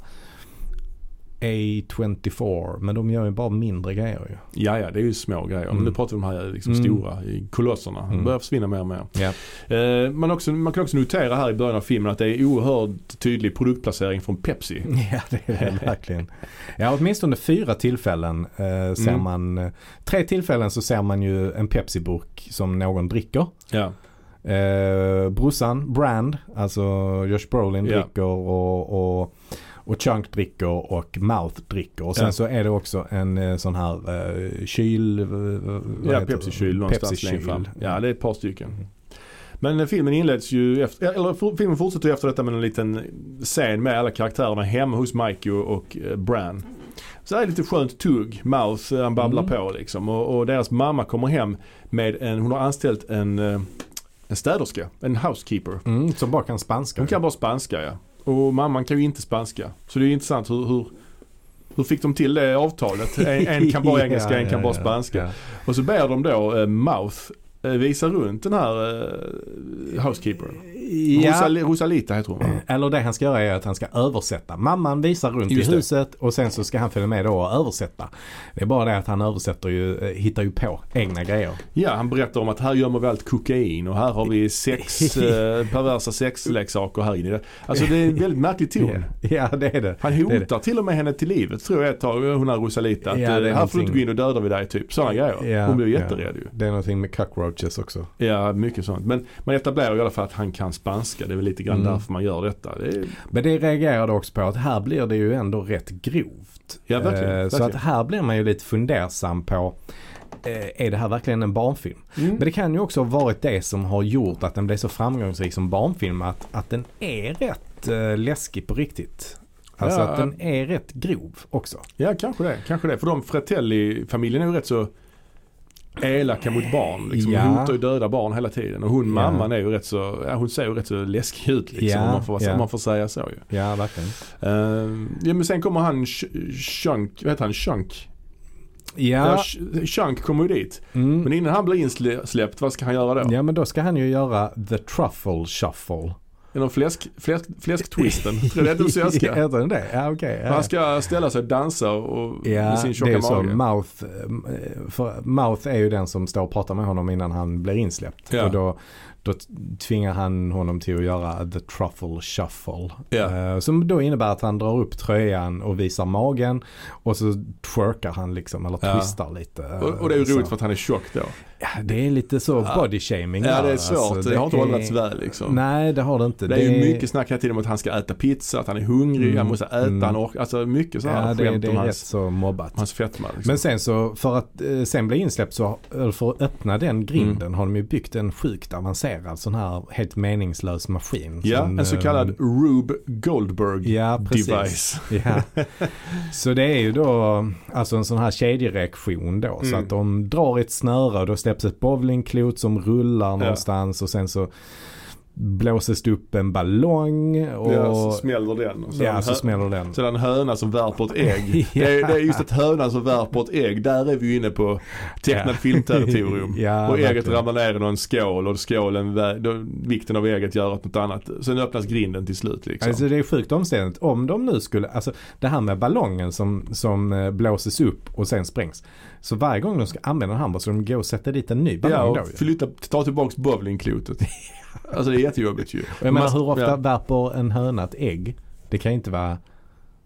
B: A24 men de gör ju bara mindre grejer ju.
A: Ja, ja, det är ju små grejer. Men
B: Mm.
A: nu pratar vi om de här liksom
B: Mm.
A: stora i kolosserna. De
B: Mm.
A: börjar försvinna mer och mer.
B: Ja.
A: Eh, man, också, man kan också notera här i början av filmen att det är oerhört tydlig produktplacering från Pepsi.
B: Ja, det är det verkligen. Ja, åtminstone fyra tillfällen eh, ser
A: Mm.
B: man. eh, Tre tillfällen så ser man ju en Pepsi-burk som någon dricker.
A: Ja,
B: Eh, brorsan, Brand, alltså Josh Brolin
A: Ja.
B: dricker och, och, och Chunk dricker och Mouth dricker. Och sen
A: Ja.
B: så är det också en eh, sån här eh, kyl... eh, vad
A: ja
B: heter det?
A: Pepsi-kyl någonstans längre fram.
B: Pepsi-kyl.
A: Ja, det är ett par stycken. Men eh, filmen inleds ju efter, ja, eller f- filmen fortsätter ju efter detta med en liten scen med alla karaktärerna hemma hos Mikey och, och eh, Bran. Så det är lite skönt tugg, Mouth, eh, han babblar
B: Mm.
A: på liksom. Och, och deras mamma kommer hem med en, hon har anställt en, eh, en städerska, en housekeeper.
B: Mm, som bara kan spanska.
A: Hon kan bara spanska ja. Och mamman kan ju inte spanska. Så det är ju intressant hur, hur, hur fick de till det avtalet? En, en kan bara engelska, en kan bara spanska.
B: Ja,
A: Och så ber de då eh, Mouth eh, visa runt den här eh, housekeepern.
B: ja. Mm.
A: Rosali, Rosalita heter hon va?
B: Eller det han ska göra är att han ska översätta. Mamman visar runt
A: Just
B: i
A: det.
B: huset och sen så ska han följa med då och översätta. Det är bara det att han översätter ju, eh, hittar ju på egna grejer.
A: Ja, han berättar om att här gömmer vi allt kokain och här har vi sex, eh, perversa sexleksaker här inne. i det. Alltså det är en väldigt märklig ton.
B: Ja, det är det.
A: Han
B: Det är
A: hotar till och med henne till livet tror jag ett tag, hon här Rosalita. Att,
B: Ja,
A: eh,
B: det är
A: här får du
B: någonting-
A: inte gå in och dödar vi dig typ. Sådana grejer.
B: Ja,
A: hon blir
B: ja.
A: jätterädd ju.
B: Det är någonting med cockroaches också.
A: Ja, mycket sånt. Men man etablerar i alla fall att han kan spanska. Det är väl lite grann
B: Mm.
A: därför man gör detta. Det är,
B: Men det reagerade också på att här blir det ju ändå rätt grovt.
A: Ja, verkligen,
B: Eh, Så
A: verkligen.
B: att här blir man ju lite fundersam på eh, är det här verkligen en barnfilm?
A: Mm.
B: Men det kan ju också ha varit det som har gjort att den blev så framgångsrik som barnfilm. Att, att den är rätt eh, läskig på riktigt. Alltså
A: Ja.
B: att den är rätt grov också.
A: Ja, kanske det. Kanske det. För de Fratelli-familjen är ju rätt så elaka mot barn. Liksom.
B: Ja.
A: Hon hotar ju döda barn hela tiden. Och hon,
B: Ja.
A: mamman, är ju rätt så, ja, hon ser ju rätt så läskig ut liksom.
B: Ja,
A: Om, man får,
B: ja.
A: om man får säga så ju.
B: Ja, verkligen.
A: Ehm, ja, men sen kommer han Sh- Shunk, vad heter han? Shunk? Ja.
B: Ja,
A: Sh- Shunk kommer ju dit. Men
B: mm.
A: innan han blir insläppt, vad ska han göra då?
B: ja, men då ska han ju göra the truffle shuffle.
A: Genom fläsk, fläsk, fläsktwisten. Tror du det är den svenska?
B: Heter den det? Ja, okej.
A: Men Han
B: ja.
A: ska ställa sig och dansa och,
B: Ja,
A: med sin
B: det
A: tjocka
B: är så.
A: mage.
B: Mouth, eh, för Mouth är ju den som står och pratar med honom innan han blir insläppt.
A: Ja.
B: Och då, då tvingar han honom till att göra the truffle shuffle.
A: Ja.
B: Eh, Som då innebär att han drar upp tröjan och visar magen. Och så twerkar han liksom, eller
A: Ja.
B: twistar lite. eh,
A: och, och det är ju roligt
B: så.
A: för att han är tjock då.
B: Ja, det är lite så
A: Ja.
B: body shaming.
A: Ja
B: där,
A: det är svårt.
B: alltså.
A: det har inte
B: är-
A: åldrats väl liksom.
B: Nej, det har det inte.
A: det, är ju mycket snack hela tiden om att han ska äta pizza, att han är hungrig,
B: Mm,
A: han måste äta,
B: mm.
A: han orkar. Alltså mycket sådana
B: ja,
A: här
B: det,
A: skämt
B: det
A: om
B: är rätt
A: hans,
B: så mobbat.
A: hans fetma. Liksom.
B: Men sen så för att eh, sen bli insläppt så eller för att öppna den grinden
A: Mm.
B: har de ju byggt en sjukt avancerad sån här helt meningslös maskin.
A: ja,
B: som,
A: en så
B: eh,
A: kallad Rube Goldberg
B: Ja, precis.
A: device.
B: Ja. Så det är ju då alltså en sån här kedjereaktion då. Så
A: Mm.
B: att de drar ett snöre och då släpps ett bowlingklot som rullar någonstans och sen så blåses det upp en ballong och
A: Ja, så smäller den. Och
B: ja, så
A: hö-
B: smäller den.
A: Sedan höna som värper ett ägg.
B: Ja.
A: det, är, det är just att hönan som värper ett ägg, där är vi ju inne på tecknat
B: Ja.
A: filmterritorium.
B: Ja,
A: och ägget
B: verkligen.
A: ramlar ner i någon skål och skålen, vä- då, vikten av ägget gör att något annat, sen öppnas grinden till slut liksom.
B: Alltså det är sjukt omständigt. Om de nu skulle, alltså det här med ballongen som, som eh, blåses upp och sen sprängs. Så varje gång de ska använda en handboll så de går och sätter dit en ny
A: ja,
B: ballong
A: och
B: då ju.
A: flytta, ta tillbaka bowlingklotet. alltså det är jättejobbigt ju.
B: Och Jag menar
A: Man-
B: hur ofta
A: Ja.
B: värper en höna ett ägg? Det kan ju inte vara
A: Jo,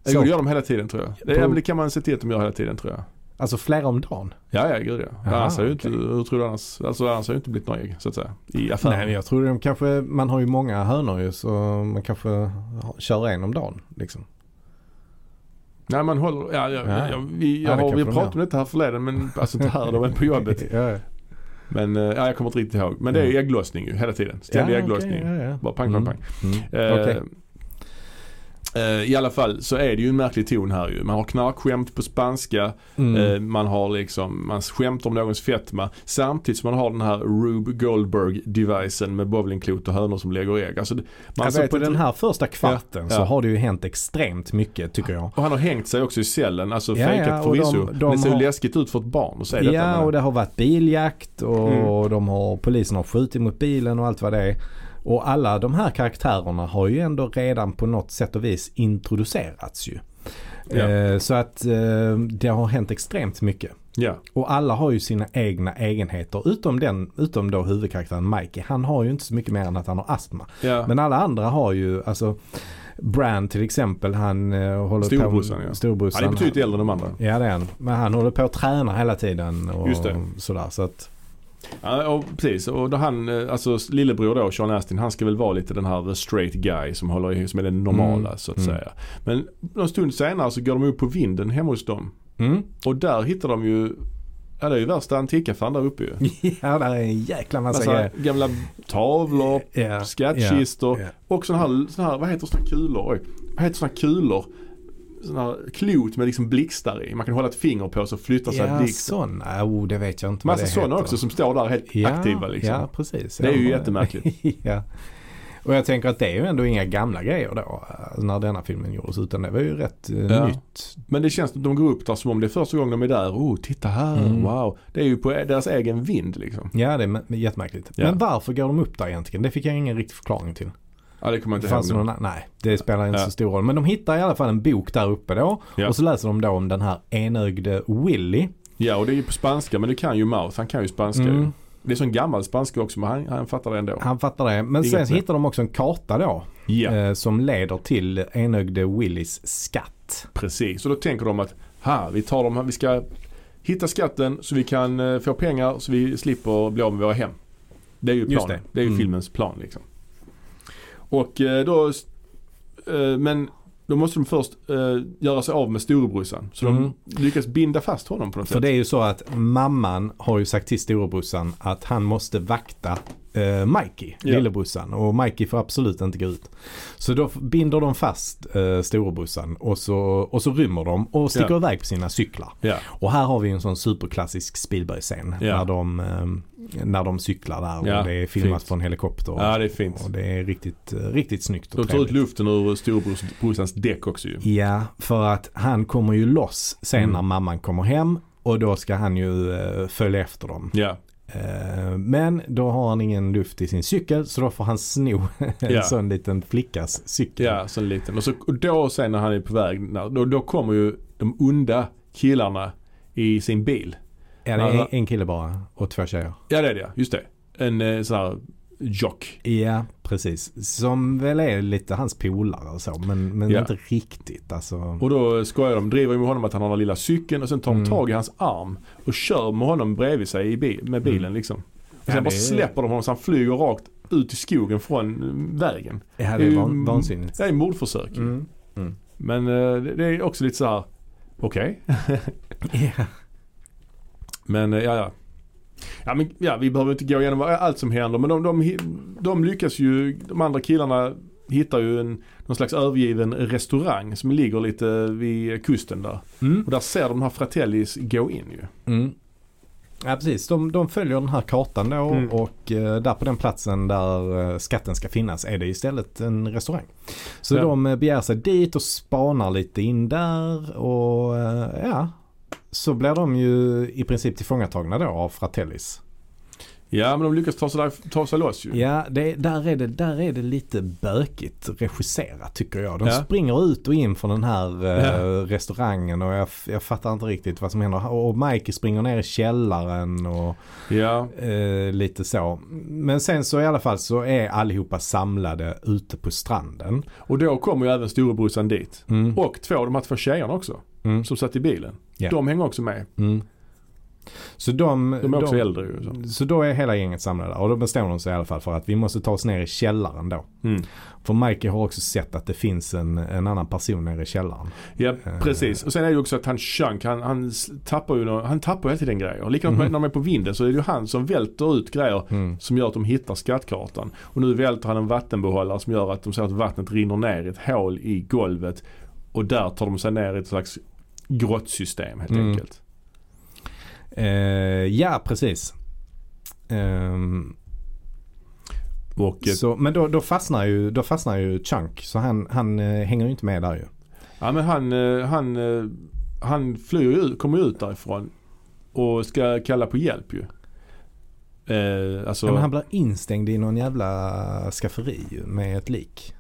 A: det
B: så.
A: gör de hela tiden tror jag. Det,
B: På-
A: ja, men det kan man se till att de gör hela tiden tror jag.
B: Alltså flera om dagen.
A: Ja, ja, gud ja.
B: Aha,
A: annars, har ju inte,
B: okej.
A: hur tror du annars, alltså, annars har det ju inte blivit några ägg så att säga. I affären.
B: Nej men jag tror de kanske, man har ju många hönor ju så man kanske har- kör en om dagen liksom.
A: Nej man håller, ja, ja,
B: Ja.
A: ja. vi,
B: Ja,
A: jag
B: det
A: har, vi
B: kanske de
A: pratade om detta här förleden men alltså inte här då men på jobbet.
B: Ja, ja.
A: Men eh, ja, jag kommer inte riktigt ihåg. Men det är ju ägglossning ju hela tiden. Ständig
B: Mm. Ja,
A: ägglossning.
B: okej, ja, ja.
A: Bara pang, pang,
B: Mm.
A: pang.
B: Mm.
A: Eh,
B: Okej.
A: eh, I alla fall så är det ju en märklig ton här ju. Man har knarkskämt på spanska.
B: Mm.
A: Eh, man har liksom, man skämtar om någons fetma. Samtidigt som man har den här Rube Goldberg-devicen med bowlingklot och hönor som lägger ägg. Alltså, det- man
B: alltså
A: vet
B: på
A: inte-
B: den här första kvarten så
A: ja.
B: har det ju hänt extremt mycket tycker jag.
A: Och han har hängt sig också i cellen, alltså
B: Ja,
A: fejkat
B: ja, och
A: förvisso.
B: de- de
A: Men det ser ju
B: har-
A: läskigt ut för ett barn att säga detta.
B: Ja,
A: men-
B: och det har varit biljakt och
A: Mm.
B: de har, polisen har skjutit mot bilen och allt vad det är. Och alla de här karaktärerna har ju ändå redan på något sätt och vis introducerats ju.
A: Ja.
B: Eh, Så att eh, det har hänt extremt mycket.
A: Ja,
B: Och alla har ju sina egna egenheter. Utom, den, utom då huvudkaraktären Mikey. Han har ju inte så mycket mer än att han har astma.
A: ja.
B: Men alla andra har ju, alltså Brand till exempel, han eh, håller
A: Storbrorsan,
B: på...
A: ja.
B: Storbrorsan.
A: han är betydligt äldre än de andra.
B: Ja det är han. Men han håller på och tränar hela tiden och
A: Just det.
B: sådär. Så att,
A: Ja, och precis. Och då han, eh, alltså lillebror då, Sean Astin, han ska väl vara lite den här straight guy som håller i- som är den normala
B: Mm.
A: så att
B: Mm.
A: säga. Men någon stund senare så går de upp på vinden hemma hos dem.
B: mm.
A: Och där hittar de ju, ja det är ju värsta antikaffären där uppe ju.
B: Ja, där är en jäkla massa
A: Massa
B: grejer.
A: gamla tavlor,
B: Ja,
A: skattkistor
B: ja, ja.
A: och sådana här, sån här, vad heter sådana kulor? Oj, vad heter sådana kulor? Sådana här klot med liksom blixtar i. Man kan hålla ett finger på så flyttar sig
B: Ja,
A: blixten.
B: sådana. Oh, det vet jag inte vad
A: Massa
B: det
A: sådana
B: heter.
A: också som står där helt
B: ja,
A: aktiva liksom.
B: Ja, precis.
A: Det är ju
B: Ja.
A: jättemärkligt.
B: ja. Och jag tänker att det är ju ändå inga gamla grejer då alltså, när denna filmen gjordes utan det var ju rätt eh,
A: Ja.
B: nytt.
A: Men det känns som de går upp där som om det är första gången de är där. Oh, titta här,
B: Mm.
A: wow. Det är ju på deras egen vind liksom.
B: Ja, det är mä- jättemärkligt.
A: Ja.
B: Men varför går de upp där egentligen? Det fick jag ingen riktig förklaring till.
A: Ja, det kommer jag
B: Det
A: inte ihåg.
B: fanns
A: nu.
B: någon, annan- nej, det spelar inte
A: Ja.
B: så stor roll. Men de hittar i alla fall en bok där uppe då.
A: Ja.
B: Och så läser de då om den här enögde Willy.
A: Ja, och det är ju på spanska, men det kan ju Mouth. Han kan ju spanska ju. Det är sån gammal spanska också, men han, han fattar det ändå.
B: Mm. Han fattar det. Men
A: Inget
B: sen så
A: mer.
B: hittar de också en karta då.
A: Ja,
B: Eh, som leder till enögde Willys skatt.
A: precis. Och då tänker de att, ha, vi tar dem, vi ska hitta skatten så vi kan eh, få pengar så vi slipper bli av med våra hem. Det är ju
B: Just
A: planen. Det.
B: det.
A: är ju
B: Mm.
A: filmens plan liksom. Och eh, då, eh, men då måste de först eh, göra sig av med storebrorsan. Så
B: Mm.
A: de lyckas binda fast honom på något
B: För
A: sätt.
B: det är ju så att mamman har ju sagt till storebrorsan att han måste vakta eh, Mikey,
A: Ja.
B: lillebrorsan. Och Mikey får absolut inte gå ut. Så då f- binder de fast eh, storebrorsan och så, och så rymmer de och sticker
A: Ja.
B: iväg på sina cyklar.
A: Ja.
B: Och här har vi ju en sån superklassisk Spielberg-scen.
A: Ja.
B: När, de, eh, när de cyklar där
A: Ja,
B: och det är filmat
A: fint.
B: från helikopter. Och,
A: ja, det är fint.
B: och det är riktigt, eh, riktigt snyggt och
A: De tar ut luften ur storebrorsans däck också ju.
B: Ja, för att han kommer ju loss sen
A: Mm.
B: när mamman kommer hem. Och då ska han ju eh, följa efter dem.
A: Ja,
B: Eh, men då har han ingen luft i sin cykel så då får han sno en
A: Ja.
B: sån liten flickas cykel.
A: ja så liten. Och, så, och då sen när han är på väg, när, då, då kommer ju de onda killarna i sin bil.
B: Ja, det är en,
A: Alla-
B: en kille bara och två tjejer.
A: Ja det är det ja. just det. En eh, sån här jock.
B: Ja, precis. Som väl är lite hans polare och så men, men
A: Ja.
B: inte riktigt alltså.
A: Och då skojar de, driver med honom att han har den lilla cykeln och sen tar de
B: Mm.
A: tag i hans arm och kör med honom bredvid sig i bi- med bilen liksom. Och
B: Mm.
A: sen
B: Ja, det
A: bara
B: är-
A: släpper de honom så han flyger rakt ut i skogen från eh, vägen.
B: Ja, det är van,
A: Mm.
B: vansinnigt.
A: Det är mordförsök.
B: Mm.
A: Men eh, det det är också lite så här. okej.
B: Ja.
A: Men eh, ja, ja. Ja, men, ja, vi behöver inte gå igenom vad- allt som händer. Men de, de, hi- de lyckas ju, de andra killarna hittar ju en, någon slags övergiven restaurang som ligger lite vid kusten där.
B: Mm.
A: Och där ser de de här Fratellis gå in ju.
B: Mm. Ja precis, de, de följer den här kartan då
A: Mm.
B: och eh, där på den platsen där eh, skatten ska finnas är det istället en restaurang. Så
A: Ja.
B: de eh, begär sig dit och spanar lite in där och eh, ja. Så blir de ju i princip tillfångatagna då av Fratellis.
A: Ja, men de lyckas ta sig, där, ta sig loss ju.
B: Ja, det, där, är det, där är det lite bökigt regisserat tycker jag. De
A: Ja.
B: springer ut och in från den här eh,
A: Ja.
B: restaurangen och jag, jag fattar inte riktigt vad som händer. Och Mikey springer ner i källaren och
A: Ja,
B: Eh, lite så. Men sen så i alla fall så är allihopa samlade ute på stranden.
A: och då kommer ju även storebrorsan dit.
B: Mm.
A: Och två av de här två tjejerna också,
B: Mm.
A: som satt i bilen.
B: Ja.
A: De hänger också med.
B: Mm. Så de,
A: De är också äldre ju. Så.
B: så då är hela gänget samlade och då bestämmer de sig i alla fall för att vi måste ta oss ner i källaren då.
A: Mm.
B: För Mikey har också sett att det finns en, en annan person nere i källaren.
A: Ja,
B: Eh.
A: precis. Och sen är det ju också att han Chunk, han, han s- tappar ju nå- han tappar ju hela tiden grejer. Likadant
B: Mhm.
A: när de är på vinden så är det ju han som välter ut grejer
B: Mm.
A: som gör att de hittar skattkartan. Och nu välter han en vattenbehållare som gör att de ser att vattnet rinner ner i ett hål i golvet. Och där tar de sig ner i ett slags grottsystem helt
B: Mm.
A: enkelt.
B: Eh, ja, precis. Ehm,
A: Och, eh,
B: så, men då, då, fastnar ju, då fastnar ju Chunk så han, han eh, hänger ju inte med där ju.
A: ja men han, eh, han, eh, han flyr ju ut, kommer ju ut därifrån och ska kalla på hjälp ju. Eh, alltså,
B: Ja, men han blir instängd i någon jävla skafferi ju med ett lik.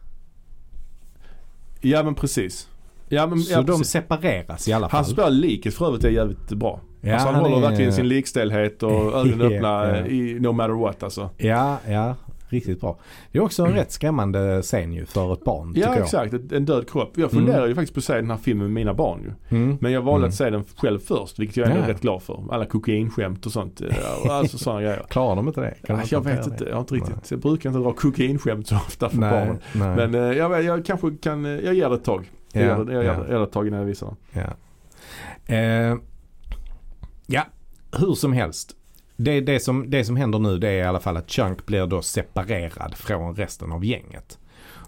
A: ja men precis. Ja, men,
B: Så
A: ja,
B: de
A: precis.
B: separeras i alla fall.
A: Han spelade liket för övrigt är jävligt bra.
B: Ja,
A: alltså han,
B: han
A: håller
B: är-
A: verkligen sin likstelhet och ögonen öppna
B: Ja.
A: i no matter what alltså.
B: Ja, ja. Riktigt bra. Det är också en rätt skrämmande scen ju för ett barn tycker
A: Ja
B: jag.
A: exakt, Ett- en död kropp. Jag funderar ju faktiskt på att se den här filmen med mina barn ju.
B: Mm.
A: Men jag valde
B: Mm.
A: att se den själv först vilket jag är
B: Ja.
A: rätt glad för. Alla kokainskämt och sånt. eh, och Alltså sådana grejer.
B: Klarar de inte det? Kan de
A: Ja, jag
B: hantera
A: vet
B: det?
A: inte, jag, har inte riktigt, jag brukar inte dra kokainskämt så ofta för
B: Nej,
A: barnen.
B: nej.
A: Men eh, jag, vet- jag kanske kan, eh, jag ger det ett tag. Jag
B: Ja,
A: ger det, jag ger
B: ja.
A: det- jag ger det ett tag innan jag visar den.
B: Ja. Eh, ja, hur som helst. Det, det, som, det som händer nu det är i alla fall att Chunk blir då separerad från resten av gänget.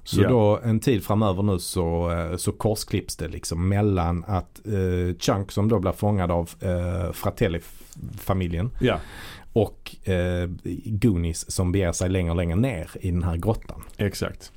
B: Så
A: Ja.
B: då en tid framöver nu så, eh, så korsklipps det liksom mellan att eh, Chunk som då blir fångad av eh, Fratelli-familjen
A: Ja,
B: och eh, Goonies som beger sig längre och längre ner i den här grottan.
A: exakt.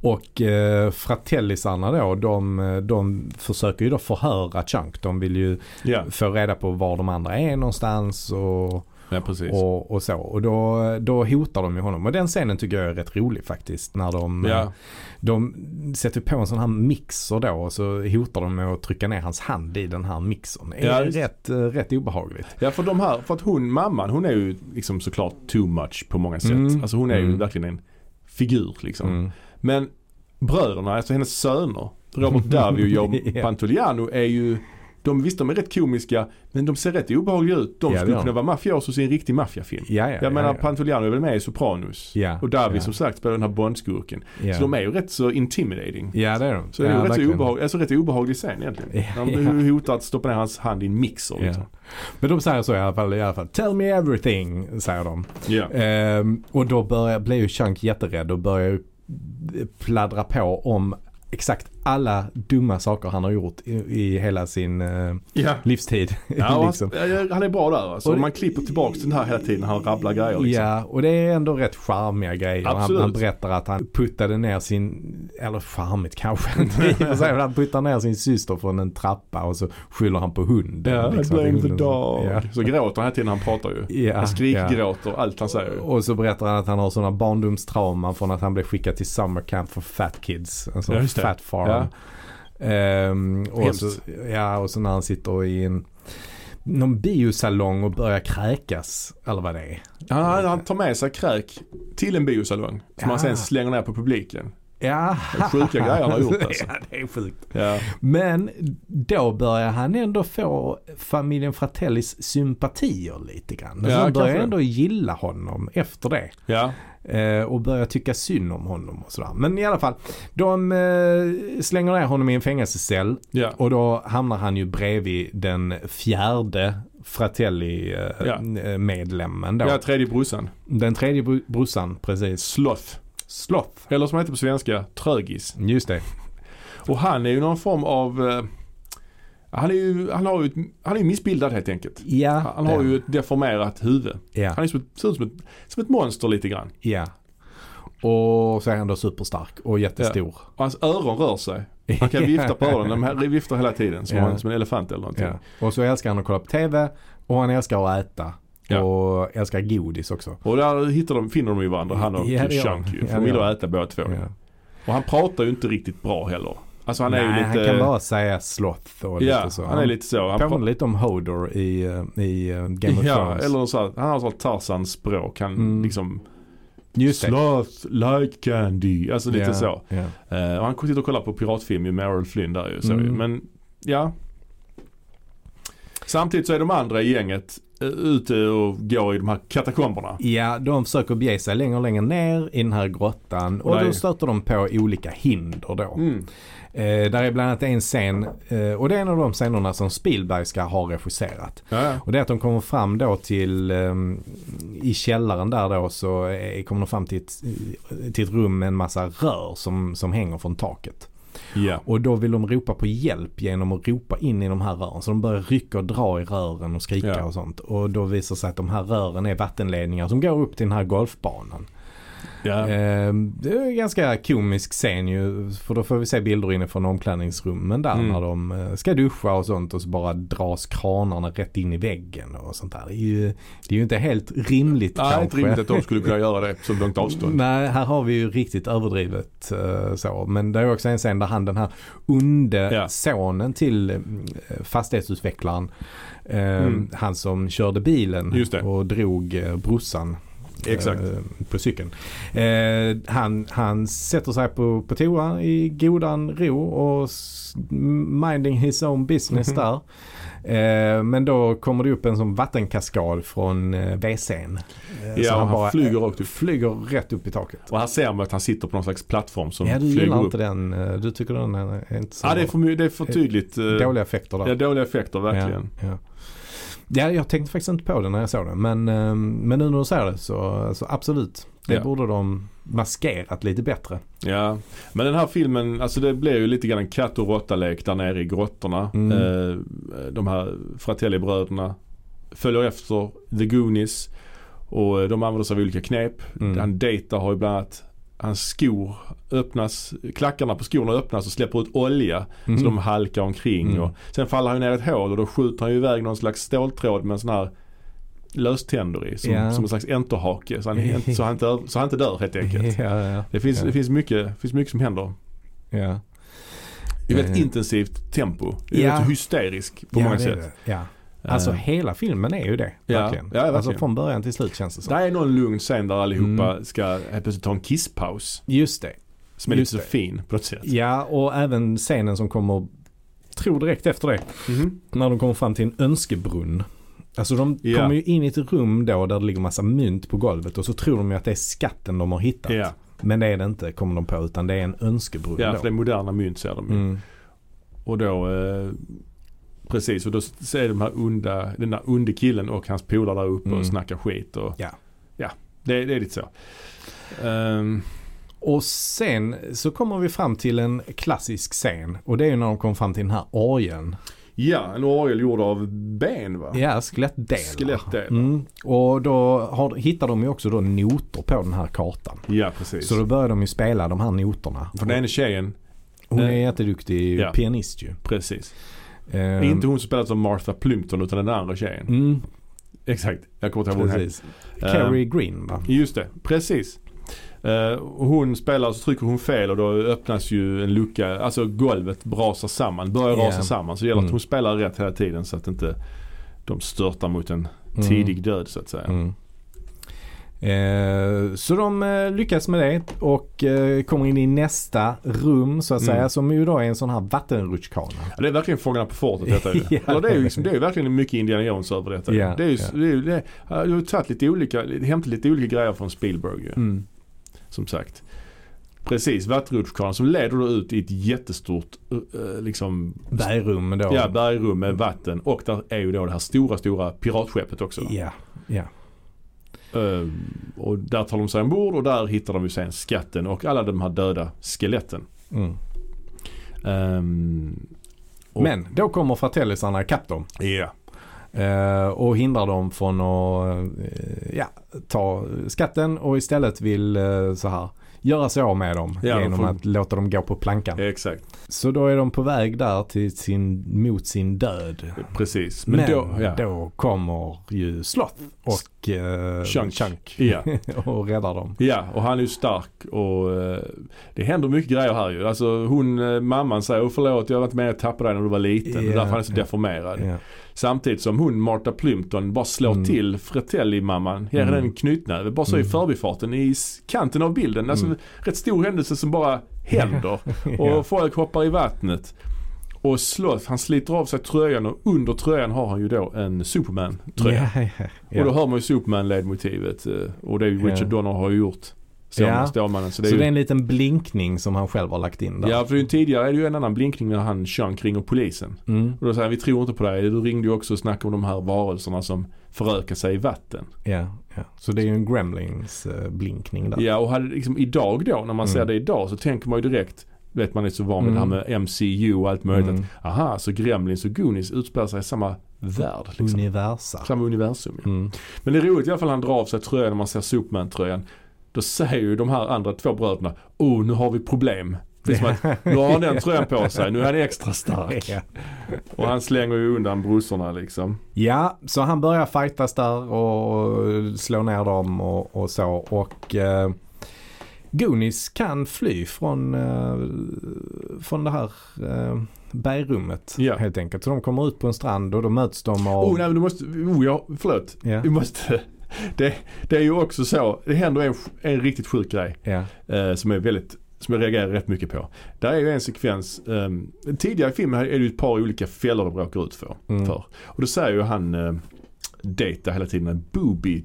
B: Och eh, fratellisarna då, de, de försöker ju då förhöra Chunk. De vill ju
A: Ja,
B: få reda på var de andra är någonstans och,
A: ja precis.
B: och, och så. Och då, då hotar de ju honom. Och den scenen tycker jag är rätt rolig faktiskt. När de,
A: ja,
B: de sätter på en sån här mixer då och så hotar de med att trycka ner hans hand i den här mixern. Det
A: Ja,
B: är
A: just.
B: rätt, eh, rätt obehagligt.
A: Ja för de här, för att hon, mamman, hon är ju liksom såklart too much på många sätt.
B: Mm.
A: Alltså hon är ju
B: Mm.
A: verkligen en figur liksom.
B: Mm.
A: Men bröderna, alltså hennes söner, Robert Davi och Joe
B: Ja.
A: Pantoliano är ju de, visst de är rätt komiska men de ser rätt obehagliga ut. De
B: Ja, det
A: skulle
B: gör
A: kunna vara mafiosos i en riktig maffiafilm.
B: Ja, ja,
A: Jag menar
B: ja, ja.
A: Pantoliano är väl med i Sopranos.
B: Ja,
A: och Davi
B: ja.
A: som sagt spelar den här Bondskurken.
B: Ja.
A: Så de är ju rätt så intimidating.
B: Ja det är de.
A: Så det är
B: ja,
A: ju rätt, så
B: verkligen.
A: obehag, alltså rätt obehaglig scen egentligen.
B: Ja,
A: När de hotar att stoppa ner hans hand i en mixer. Liksom.
B: Ja. Men de säger så i alla fall. I alla fall. Tell me everything, säger de.
A: Ja.
B: Ehm, och då börjar, blir ju Chunk jätterädd och börjar ju eh, pladdra på om exakt alla dumma saker han har gjort i, i hela sin eh,
A: Ja.
B: livstid.
A: Ja, och
B: liksom.
A: han, ja, han är bra där. Alltså,
B: Och-
A: man klipper tillbaka den här hela tiden när han rabblar grejer. Liksom.
B: Ja, och det är ändå rätt charmiga grejer. Han,
A: Absolut.
B: han berättar att han puttade ner sin, eller charmigt kanske inte i och för sig, men han puttade ner sin syster från en trappa och så skyller han på hunden.
A: Ja,
B: liksom, att
A: blame the
B: hunden-
A: dog.
B: Ja.
A: Så gråter han hela tiden han pratar ju.
B: Ja,
A: han
B: ja.
A: skrikgråter allt han säger. ju.
B: Och så berättar han att han har sådana barndomstrauman från att han blev skickad till summer camp för fat kids. En sån
A: Ja, just det.
B: fat farm. Ehm, och,
A: Hemskt.
B: så, ja, och så när han sitter i en någon biosalong och börjar kräkas. Eller vad det är.
A: Han, han, han tar med sig kräk till en biosalong som
B: Ja.
A: han sen slänger ner på publiken.
B: Ja.
A: Sjuka grejer han har gjort alltså.
B: ja, det är sjukt.
A: Ja,
B: Men då börjar han ändå få familjen Fratellis sympatier lite grann.
A: Ja,
B: Ja, de börjar
A: kanske.
B: ändå gilla honom efter det.
A: ja.
B: Eh, och börjar tycka synd om honom och sådär. Men i alla fall, de eh, slänger ner honom i en fängelsecell
A: ja.
B: och då hamnar han ju bredvid den fjärde
A: Ja.
B: Fratelli-medlemmen då.
A: ja tredje brorsan.
B: Den tredje br- brorsan, precis.
A: Sloth.
B: Sloth.
A: Eller som han heter på svenska, trögis.
B: Just det.
A: Och han är ju någon form av... eh, han är ju, han har ju, ett- han är ju missbildad helt enkelt.
B: Ja,
A: Han har
B: den.
A: ju ett deformerat huvud. Han
B: Ja,
A: är som ett, ser ut som ett, som ett monster lite grann.
B: ja. Och så är han då superstark och jättestor.
A: Och hans öron rör sig. Han kan vifta på öronen. De här viftar hela tiden som,
B: Ja.
A: en, som en elefant eller någonting.
B: Ja. Och så älskar han att kolla på TV och han älskar att äta.
A: Ja.
B: Och älskar godis också.
A: Och där hittar de, finner de ju varandra, han och
B: Ja, det gör
A: Chunk ju.
B: de.
A: För
B: Ja,
A: de
B: det
A: gillar
B: gör
A: att äta båda två.
B: Ja.
A: Och han pratar ju inte riktigt bra heller. Alltså han
B: Nej,
A: är ju lite...
B: han kan bara säga sloth och
A: ja,
B: lite så.
A: han är lite så. Han
B: påminner lite om Hodor i, eh, i eh, Game of
A: ja,
B: Thrones.
A: eller så här, han har sånt Tarzans språk. Han
B: Mm.
A: liksom...
B: Just det.
A: Sloth like candy. Alltså lite
B: Ja,
A: så.
B: Ja.
A: Eh, och han sitter och kollar på piratfilm med Errol Flynn där ju. Så
B: Mm.
A: ju. Men ja. Samtidigt så är de andra i gänget eh, ute och går i de här katakomberna.
B: ja, de försöker bege sig längre och längre ner i den här grottan och
A: Nej.
B: då stöter de på olika hinder då.
A: Mm.
B: Eh, där är bland annat en scen eh, och det är en av de scenerna som Spielberg ska ha regisserat.
A: Ja, ja.
B: Och det är att de kommer fram då till ehm, i källaren där då så eh, kommer de fram till ett, eh, till ett rum med en massa rör som, som hänger från taket.
A: Ja.
B: Och då vill de ropa på hjälp genom att ropa in i de här rören. Så de börjar rycka och dra i rören och skrika
A: Ja.
B: och sånt. Och då visar det sig att de här rören är vattenledningar som går upp till den här golfbanan.
A: Ja.
B: Eh, Det är en ganska komisk scen ju. För då får vi se bilder inifrån omklädningsrummen där
A: Mm.
B: när de eh, ska duscha och sånt och så bara dras kranarna rätt in i väggen och sånt där. Det är ju, det är ju inte helt rimligt
A: Nej,
B: kanske.
A: inte rimligt att de skulle kunna göra det på så långt avstånd.
B: Nej, här har vi ju riktigt överdrivet eh, så. Men det är också en scen där han den här onde
A: Ja.
B: sonen till eh, fastighetsutvecklaren. eh,
A: Mm.
B: Han som körde bilen
A: Just det.
B: och drog eh, brorsan. eh,
A: Exakt.
B: På cykeln. Eh, han, han sätter sig på, på toa i godan ro och s- minding his own business där. Eh, men då kommer det upp en sån vattenkaskad från eh, WC'n. Eh, så
A: Ja, han flyger rakt upp.
B: flyger rätt upp i taket.
A: Och här ser man att han sitter på någon slags plattform som
B: ja, du
A: flyger
B: gillar
A: upp.
B: inte den. eh, Du tycker den är inte så
A: Ja, det är för, my- det är för tydligt. eh,
B: dåliga effekter där.
A: Ja, dåliga effekter verkligen.
B: Ja, ja. ja, jag tänkte faktiskt inte på det när jag såg den. Men, eh, men nu när du säger det så, så absolut. Det
A: Ja.
B: borde de maskerat lite bättre.
A: Ja. Men den här filmen, alltså det blev ju lite grann en katt och råtta-lek där nere i grottorna.
B: Mm.
A: Eh, de här Fratelli-bröderna följer efter The Goonies. Och eh, de använder sig av olika knep.
B: Mm.
A: Han Data har ju bland annat Hans skor öppnas, klackarna på skorna öppnas och släpper ut olja
B: Mm.
A: så de halkar omkring.
B: Mm.
A: Och sen faller han ju ner i ett hål och då skjuter han ju iväg någon slags ståltråd med en sån här löständer i. Som,
B: Ja.
A: som en slags enterhake. Så han, inte- så, han inte, över- så han inte dör helt enkelt.
B: Mm. Ja, ja,
A: Det finns,
B: Ja.
A: det finns, mycket, finns mycket som händer.
B: ja.
A: I väldigt
B: Eh.
A: intensivt tempo. Det är
B: Ja.
A: rätt hysterisk på
B: ja,
A: många
B: det är
A: sätt.
B: det. Ja. Alltså
A: Eh,
B: hela filmen är ju det.
A: Ja.
B: Verkligen.
A: Ja, verkligen.
B: Alltså från början till slut känns det som.
A: där är någon lugn scen där allihopa
B: Mm.
A: ska helt plötsligt ta en kisspaus.
B: Just det.
A: Som är
B: Just
A: lite så
B: det.
A: fin på något sätt.
B: Ja, och även scenen som kommer, tror direkt efter det,
A: Mhm.
B: när de kommer fram till en önskebrunn. Alltså de
A: Ja.
B: kommer ju in i ett rum då där det ligger massa mynt på golvet och så tror de ju att det är skatten de har hittat.
A: Ja,
B: Men det är det inte, kommer de på, utan det är en önskebrunn
A: ja
B: då.
A: för det är moderna mynt ser de ju.
B: Mm.
A: Och då eh, Precis och då ser de här onda, den där onde killen och hans polare där uppe
B: Mm.
A: och snackar skit. Och,
B: Ja.
A: ja, det, det är lite så. Ehm,
B: Och sen så kommer vi fram till en klassisk scen och det är ju när de kommer fram till den här orgeln.
A: ja, en orgel gjord av ben va?
B: Ja, skelettdelar.
A: Skelettdelar.
B: Mm. Och då har, hittar de ju också då noter på den här kartan.
A: Ja, precis.
B: Så då börjar de ju spela de här noterna.
A: För den ene tjejen,
B: Hon är
A: Eh,
B: jätteduktig
A: ja.
B: pianist ju.
A: precis.
B: Eh,
A: Inte hon som spelas av Martha Plimpton utan den andra tjejen.
B: Mm,
A: Exakt, jag kommer inte ihåg vad hon
B: precis. Ehm,
A: Eh,
B: Carrie Green va?
A: Just det, precis. Eh, och hon spelar så trycker hon fel och då öppnas ju en lucka, alltså golvet brasar samman, börjar
B: Ja.
A: rasa samman. Så det gäller att
B: Mm.
A: hon spelar rätt hela tiden så att inte de störtar mot en
B: Mm.
A: tidig död så att säga.
B: Mm. Eh, så de eh, lyckas med det och eh, kommer in i nästa rum så att
A: Mm.
B: säga som ju då är en sån här vattenrutschkana.
A: Ja, det är verkligen Fångarna på fortet detta. ju.
B: Ja.
A: Eller det är ju liksom, det är ju verkligen mycket Indiana Jones över detta.
B: Ja,
A: Det är ju,
B: ja.
A: det är ju, det, jag har ju tagit lite olika, hämtat lite olika grejer från Spielberg ju,
B: Mm.
A: som sagt. Precis, vattenrutschkanan som leder då ut i ett jättestort eh, liksom
B: Bergrum då.
A: Ja, bergrum med vatten och där är ju då det här stora, stora piratskeppet också.
B: ja, ja.
A: Ehm, och där tar de sig ombord och där hittar de ju sen skatten och alla de här döda skeletten.
B: Mm.
A: Ehm, och-
B: Men då kommer fratellisarna ikapp dem
A: Ja,
B: eh, och hindrar dem från att eh, ja, ta skatten och istället vill eh, så här göra sig av med dem
A: Ja, de
B: genom
A: får-
B: att låta dem gå på plankan.
A: exakt.
B: Så då är de på väg där till sin, mot sin död.
A: Precis.
B: Men,
A: Men, då... Ja.
B: då kommer ju Sloth och eh,
A: Chunk. Ja.
B: och räddar dem.
A: ja, och han är ju stark och eh, det händer mycket grejer här ju. Alltså hon, eh, mamman säger oh, förlåt jag har varit med och tappat dig när du var liten. Det är
B: Ja,
A: därför han är så
B: ja.
A: deformerad.
B: Ja.
A: Samtidigt som hon, Martha Plimpton, bara slår
B: Mm.
A: till Fratelli-mamman. Ger henne
B: Mm.
A: en knytnäve. Bara så i
B: Mm.
A: förbifarten i s- kanten av bilden. Alltså
B: Mm.
A: rätt stor händelse som bara händer.
B: Ja.
A: Och folk hoppar i vattnet. Och Sloth, han sliter av sig tröjan och under tröjan har han ju då en Superman-tröja.
B: Ja, ja, ja.
A: Och då hör man ju Superman-ledmotivet. eh, Och det är ju Richard
B: Ja.
A: Donner har ju gjort. Stålman,
B: Ja.
A: Stålmannen. Så det är
B: så
A: ju,
B: det är en liten blinkning som han själv har lagt in där.
A: ja, för det är ju tidigare är det ju en annan blinkning när han Chunk ringer polisen.
B: Mm,
A: Och då säger han, vi tror inte på dig. Du ringde ju också och snackade om de här varelserna som förökar sig i vatten.
B: ja, ja. Så det är ju en Gremlings eh, blinkning där.
A: Ja, och hade, liksom, idag då, när man ser
B: Mm.
A: det idag så tänker man ju direkt, vet man är så van vid det här med MCU och allt möjligt.
B: Mm.
A: Att, aha, så Gremlins och Goonies utspelar sig i samma värld.
B: Mm.
A: Liksom.
B: Universa.
A: Samma universum. Ja.
B: Mm.
A: Men det är roligt i alla fall han drar av sig tröjan när man ser Superman-tröjan. Då Då säger ju de här andra två bröderna, oh nu har vi problem. Det är som att, nu har han den tröjan på sig, nu är han extra stark.
B: Ja.
A: Och han slänger ju undan brorsorna liksom.
B: Ja, så han börjar fightas där och slå ner dem och, och så. Och eh, Goonies kan fly från, eh, från det här eh, bergrummet
A: Ja.
B: helt enkelt. Så de kommer ut på en strand och då möts de av...
A: Oh, nej, men du måste, oh ja, förlåt.
B: Ja.
A: Du måste, det, det är ju också så, det händer en, en riktigt sjuk grej
B: Ja.
A: eh, som är väldigt som jag reagerar rätt mycket på. Där är ju en sekvens, ehm, tidigare i filmen är det ju ett par olika fällor de råkar ut för.
B: Mm.
A: för. Och då säger ju han eh, Data hela tiden en booby,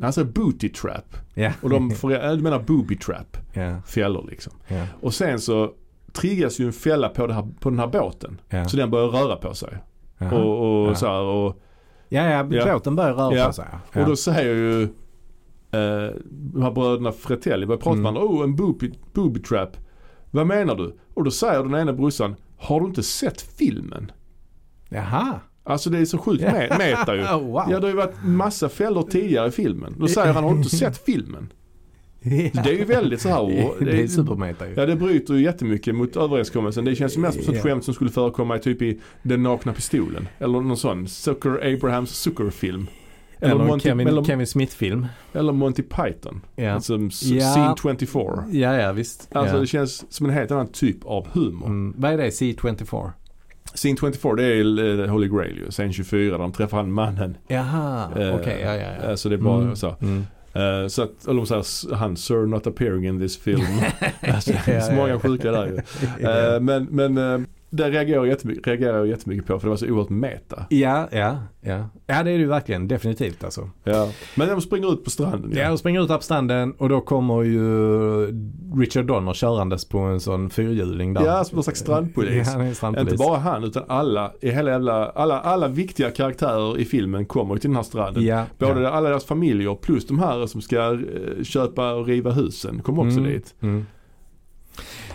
A: han säger booty trap.
B: Ja.
A: Och de, får, äh, du menar booby trap,
B: ja,
A: fällor liksom.
B: ja,
A: Och sen så triggas ju en fälla på, det här, på den här båten.
B: ja.
A: Så den börjar röra på sig.
B: Jaha.
A: Och,
B: Ja.
A: och så här, och
B: ja, ja,
A: Ja.
B: plåten börjar röra
A: Ja.
B: på sig. Ja.
A: Och då säger ju eh, de här bröderna Fratelli, vad pratar
B: Mm.
A: man Oh en booby, booby trap. Vad menar du? Och då säger den ena brorsan, har du inte sett filmen?
B: Jaha.
A: Alltså det är så sjukt yeah. meta ju.
B: Oh, wow.
A: Ja det har ju varit massa fällor tidigare i filmen. Då säger han, har du inte sett filmen? Så Det är ju väldigt så här. och-
B: det är supermeta ju.
A: Ja det bryter ju jättemycket mot överenskommelsen. Det känns ju mest som ett
B: Ja.
A: skämt som skulle förekomma i typ i Den nakna pistolen. Eller någon sån. Zucker Abrahams Zucker-film. Eller,
B: Eller
A: Monty,
B: Kevin,
A: eller,
B: Kevin Smith-film.
A: eller Monty Python.
B: Ja.
A: Alltså, s-
B: Ja.
A: Scene 24.
B: ja, ja, visst.
A: Alltså
B: ja.
A: det känns som en helt annan typ av humor.
B: Mm, vad är det? C24?
A: Scene 24 det är eh, Holy Grail ju. Scene 24 där de träffar han mannen.
B: Jaha,
A: Eh,
B: okej. ja, ja, ja.
A: Alltså det är bara
B: Mm.
A: så.
B: Mm.
A: Eh, så att, eller de säger s- han Sir not appearing in this film. alltså, det
B: Ja,
A: finns
B: ja,
A: många
B: ja.
A: sjuka där ju. Eh,
B: ja,
A: men men eh, där reagerar jag, jättemy- reagerar jag jättemycket på för det var så oerhört meta.
B: ja, ja. Ja, det är det ju verkligen. Definitivt alltså.
A: Ja. Men de springer ut på stranden
B: Ja, de springer ut här på stranden och då kommer ju Richard Donner körandes på en sån fyrhjuling där.
A: Ja, som någon slags strandpolis.
B: Ja, han är en strandpolis.
A: Inte bara han utan alla, i hela jävla, alla, alla viktiga karaktärer i filmen kommer ju till den här stranden.
B: Ja,
A: Både
B: ja.
A: alla deras familjer plus de här som ska eh, köpa och riva husen kommer också
B: Mm,
A: dit.
B: Mm.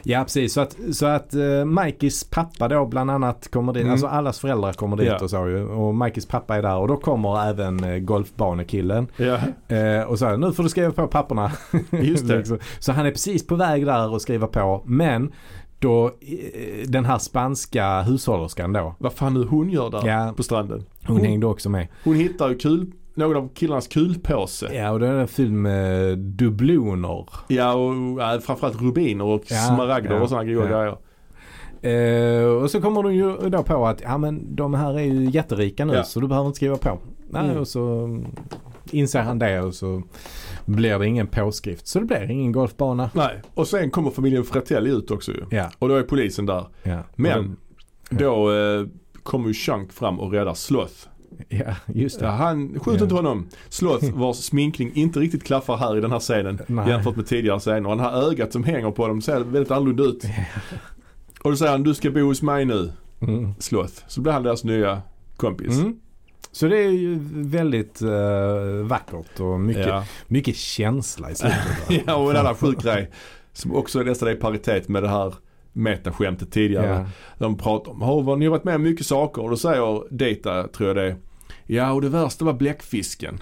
B: Ja, precis. Så att, så att eh, Mikeys pappa då bland annat kommer dit.
A: Mm.
B: Alltså allas föräldrar kommer dit
A: Ja.
B: och så ju. Och Mikeys pappa är där och då kommer även eh, golfbanekillen.
A: Ja,
B: Eh, och så här, nu får du skriva på papperna.
A: Just det.
B: Liksom. så han är precis på väg där och skriva på. Men då eh, den här spanska hushållerskan då.
A: vad fan nu hon gör där
B: Ja,
A: på stranden.
B: hon
A: hon-
B: hängde också med.
A: Hon hittar ju kul, någon av killarnas kulpåse. Ja,
B: Ja, och då är det en film med dubloner.
A: och äh, framförallt rubiner och
B: Ja,
A: smaragder
B: ja,
A: och sådana goda
B: ja.
A: grejer.
B: Eh, och så kommer de ju då på att ja, men de här är ju jätterika nu
A: Ja.
B: så du behöver inte skriva på. Nej,
A: Mm.
B: Och så inser han det och så blir det ingen påskrift. Så det blir ingen golfbana.
A: Nej, och sen kommer familjen Fratelli ut också ju.
B: Ja,
A: Och då är polisen där.
B: ja.
A: Men då eh, kommer ju Chunk fram och räddar Sloth.
B: Ja, just
A: Ja,
B: det.
A: han skjuter
B: Ja.
A: inte honom. Sloth vars sminkning inte riktigt klaffar här i den här scenen
B: Nej.
A: jämfört med tidigare scener. Och det här ögat som hänger på dem ser väldigt annorlunda ut. Och då säger han du ska bo hos mig nu
B: Mm.
A: Sloth. Så blir han deras nya kompis.
B: Mm. Så det är ju väldigt eh, vackert och mycket,
A: Ja.
B: mycket känsla i slutet. där.
A: ja och en annan sjuk grej som också är nästan är i paritet med det här metaskämtet tidigare.
B: Ja.
A: De pratar om, "Åh, vad ni har varit med om mycket saker och då säger Data, tror jag det är, Ja och det värsta var bläckfisken.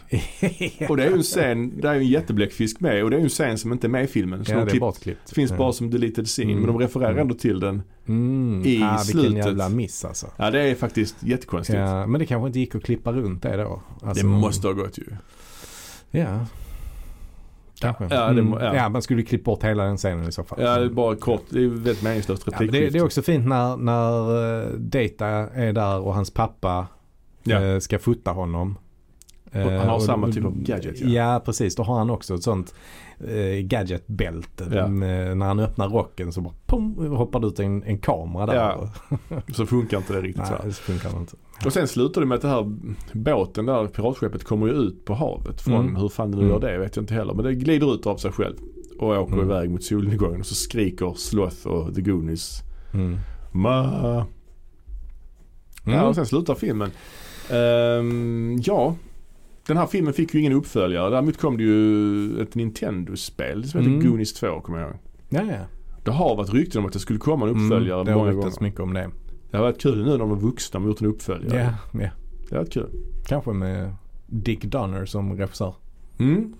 A: Och det är ju en scen, där är ju en jättebläckfisk med och det är ju en scen som inte är med i filmen. Så
B: ja,
A: de
B: det är
A: klipp-
B: bortklippt.
A: Det finns
B: Ja.
A: bara som deleted scene
B: Mm.
A: men de refererar
B: Mm.
A: ändå till den.
B: mm.
A: i
B: ah,
A: slutet.
B: Vilken jävla miss alltså.
A: Ja det är faktiskt jättekonstigt.
B: Ja, men det kanske inte gick att klippa runt det då. Alltså,
A: det måste ha gått ju.
B: Ja. Kanske. Mm.
A: Ja, det må- ja.
B: ja. man skulle klippa bort hela den scenen i så fall. Mm.
A: Ja det är bara kort, det är ju väldigt meningslöst
B: Ja, men det, det
A: replikskifte.
B: är också fint när, när eh, Data är där och hans pappa
A: Ja.
B: eh, ska fota honom.
A: Och han har
B: Eh, och-
A: samma
B: och-
A: typ av gadget, ja.
B: Ja. precis. Då har han också ett sånt eh, gadgetbälte.
A: Ja.
B: Eh, när han öppnar rocken så bara pom, hoppar det ut en, en kamera där.
A: Ja, Så funkar inte det riktigt så.
B: Nej,
A: här.
B: det funkar inte.
A: Och sen slutar det med att det här båten där, piratskeppet kommer ju ut på havet från,
B: Mm.
A: hur fan det nu gör det vet jag inte heller. Men det glider ut av sig själv. Och åker
B: Mm.
A: iväg mot solnedgången och så skriker Sloth och The Goonies
B: Mm.
A: Ma.
B: Mm.
A: Ja, och sen slutar filmen. Ehm, ja, den här filmen fick ju ingen uppföljare. Däremot kom det ju ett Nintendo-spel som heter
B: Mm.
A: Goonies 2 kommer jag ihåg.
B: ja, ja. Mm,
A: Det har varit rykten om att det skulle komma en uppföljare
B: det har
A: många
B: ryktats
A: gånger.
B: mycket om det.
A: Det har varit kul nu när de är vuxna och gjort en uppföljare.
B: Ja, ja.
A: Det har varit kul.
B: Kanske med Dick Donner som regissör.
A: Mm.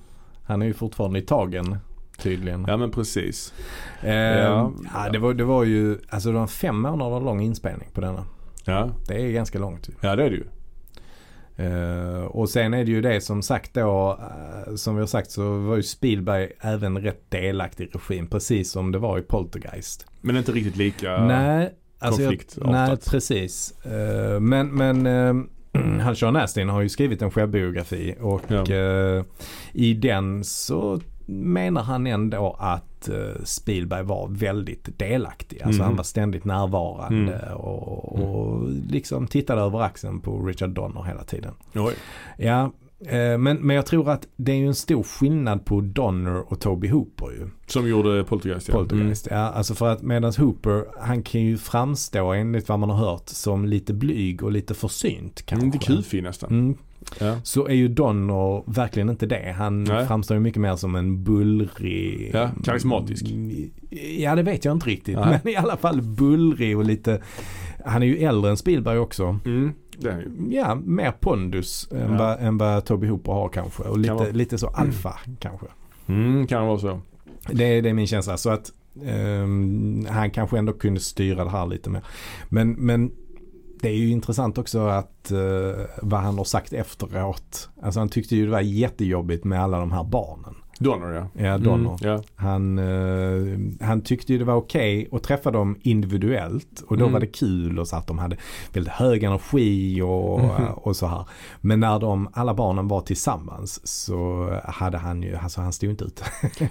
B: Han är ju fortfarande i tagen tydligen.
A: Ja men precis.
B: Eh,
A: Ja.
B: ja. det, var, det var ju alltså det var en fem månader lång inspelning på denna.
A: Ja,
B: Det är ganska långt ju.
A: ja det är det ju.
B: Eh, och sen är det ju det som sagt då, eh, som vi har sagt så var ju Spielberg även rätt delaktig i regin. Precis som det var i Poltergeist.
A: Men inte riktigt lika.
B: nej, alltså jag,
A: konfliktartat.
B: nej, precis. Eh, men men eh, han Sean Astin har ju skrivit en självbiografi och
A: Ja.
B: eh, i den så menar han ändå att eh, Spielberg var väldigt delaktig. Alltså
A: Mm.
B: han var ständigt närvarande och, och liksom tittade över axeln på Richard Donner hela tiden.
A: Oj.
B: Ja, eh, men, men jag tror att det är ju en stor skillnad på Donner och Toby Hooper ju.
A: Som gjorde Poltergeist ja.
B: Poltergeist. Ja, alltså för att medan Hooper, han kan ju framstå enligt vad man har hört som lite blyg och lite försynt
A: Mm.
B: kanske.
A: Lite kufig nästan.
B: Mm.
A: Ja.
B: Så är ju Donner verkligen inte det. Han
A: Nej.
B: framstår ju mycket mer som en bullrig.
A: Ja, karismatisk.
B: Mm, Ja, det vet jag inte riktigt.
A: Nej.
B: Men i alla fall bullrig och lite. Han är ju äldre än Spielberg också.
A: Mm. Det är han ju.
B: Ja, mer pondus än,
A: Ja.
B: vad, än vad Toby Hooper har kanske. Och lite,
A: vara.
B: lite så alfa kanske.
A: Mm, kan det vara så.
B: Det, är- det är min känsla. Så att ehm, han kanske ändå kunde styra det här lite mer. Men, men det är ju intressant också att eh, vad han har sagt efteråt. Alltså han tyckte ju det var jättejobbigt med alla de här barnen.
A: Donner ja.
B: Ja, Donner.
A: Mm. Ja.
B: Han, eh, han tyckte ju det var okej att träffa dem individuellt och då
A: Mm.
B: var det kul och så att de hade väldigt hög energi och,
A: Mhm.
B: och så här. Men när de, alla barnen var tillsammans så hade han ju, alltså han stod ju inte ut.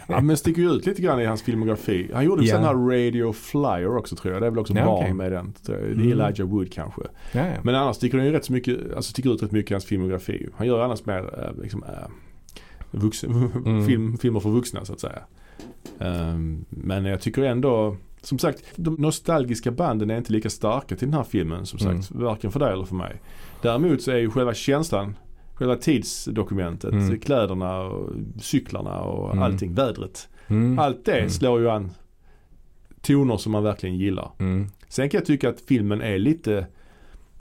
A: ja men sticker ju ut lite grann i hans filmografi. Han gjorde
B: Ja.
A: yeah. den här Radio Flyer också tror jag. Det är väl också
B: Ja,
A: barn
B: okej.
A: med den. tror jag. Det
B: Mm.
A: är Elijah Wood kanske.
B: Ja, ja.
A: Men annars sticker den ju rätt så mycket, alltså sticker ut rätt mycket i hans filmografi. Han gör annars mer eh, liksom, eh, vuxen,
B: Mm.
A: film, filmer för vuxna så att säga. Ehm, men jag tycker ändå, som sagt, de nostalgiska banden är inte lika starka till den här filmen som sagt.
B: Mm.
A: Varken för dig eller för mig. Däremot så är ju själva känslan, själva tidsdokumentet,
B: Mm.
A: kläderna och cyklarna och
B: Mm.
A: allting, vädret.
B: Mm.
A: Allt det
B: Mm.
A: slår ju an toner som man verkligen gillar.
B: Mm.
A: Sen kan jag tycka att filmen är lite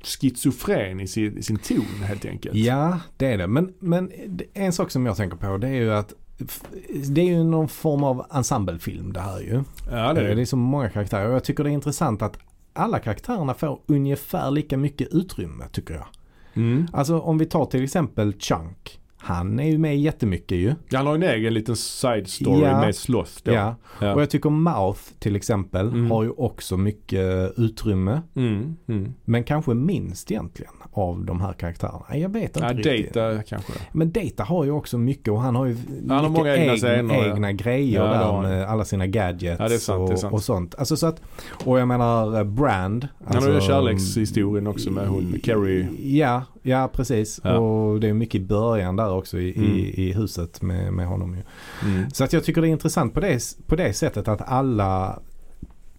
A: schizofren i sin, i sin ton helt enkelt.
B: Ja, det är det. Men, men en sak som jag tänker på det är ju att f- det är ju någon form av ensemblefilm det här ju. Eh,
A: ja det är
B: Det
A: det.
B: är så många karaktärer och jag tycker det är intressant att alla karaktärerna får ungefär lika mycket utrymme tycker jag.
A: Mm.
B: Alltså om vi tar till exempel Chunk. Han är ju med jättemycket ju.
A: Han har ju en egen liten side story
B: Ja.
A: med Sloth då.
B: Ja.
A: Ja.
B: Och jag tycker Mouth till exempel
A: Mm.
B: har ju också mycket utrymme.
A: Mm. Mm.
B: Men kanske minst egentligen av de här karaktärerna. Nej, Jag vet inte
A: Ja,
B: riktigt.
A: data kanske.
B: Men Data har ju också mycket och han har ju
A: har
B: mycket
A: många egna scener, ja.
B: egna grejer
A: Ja, det har
B: där
A: han.
B: med alla sina gadgets
A: Ja, det är sant,
B: och,
A: det är sant.
B: och sånt. Alltså, så att, och jag menar eh, Brand.
A: Han
B: alltså, mm,
A: har ju kärlekshistorien också med hon Carrie.
B: Ja, ja precis.
A: Ja.
B: Och det är mycket i början där också i,
A: Mm.
B: i, i huset med, med honom. Ju.
A: Mm.
B: Så att jag tycker det är intressant på det, på det sättet att alla,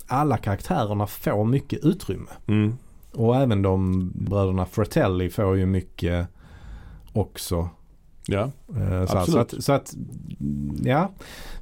B: alla karaktärerna får mycket utrymme.
A: Mm.
B: Och även de bröderna Fratelli får ju mycket också.
A: Ja.
B: Eh, Så,
A: Absolut.
B: så, att, så att, ja.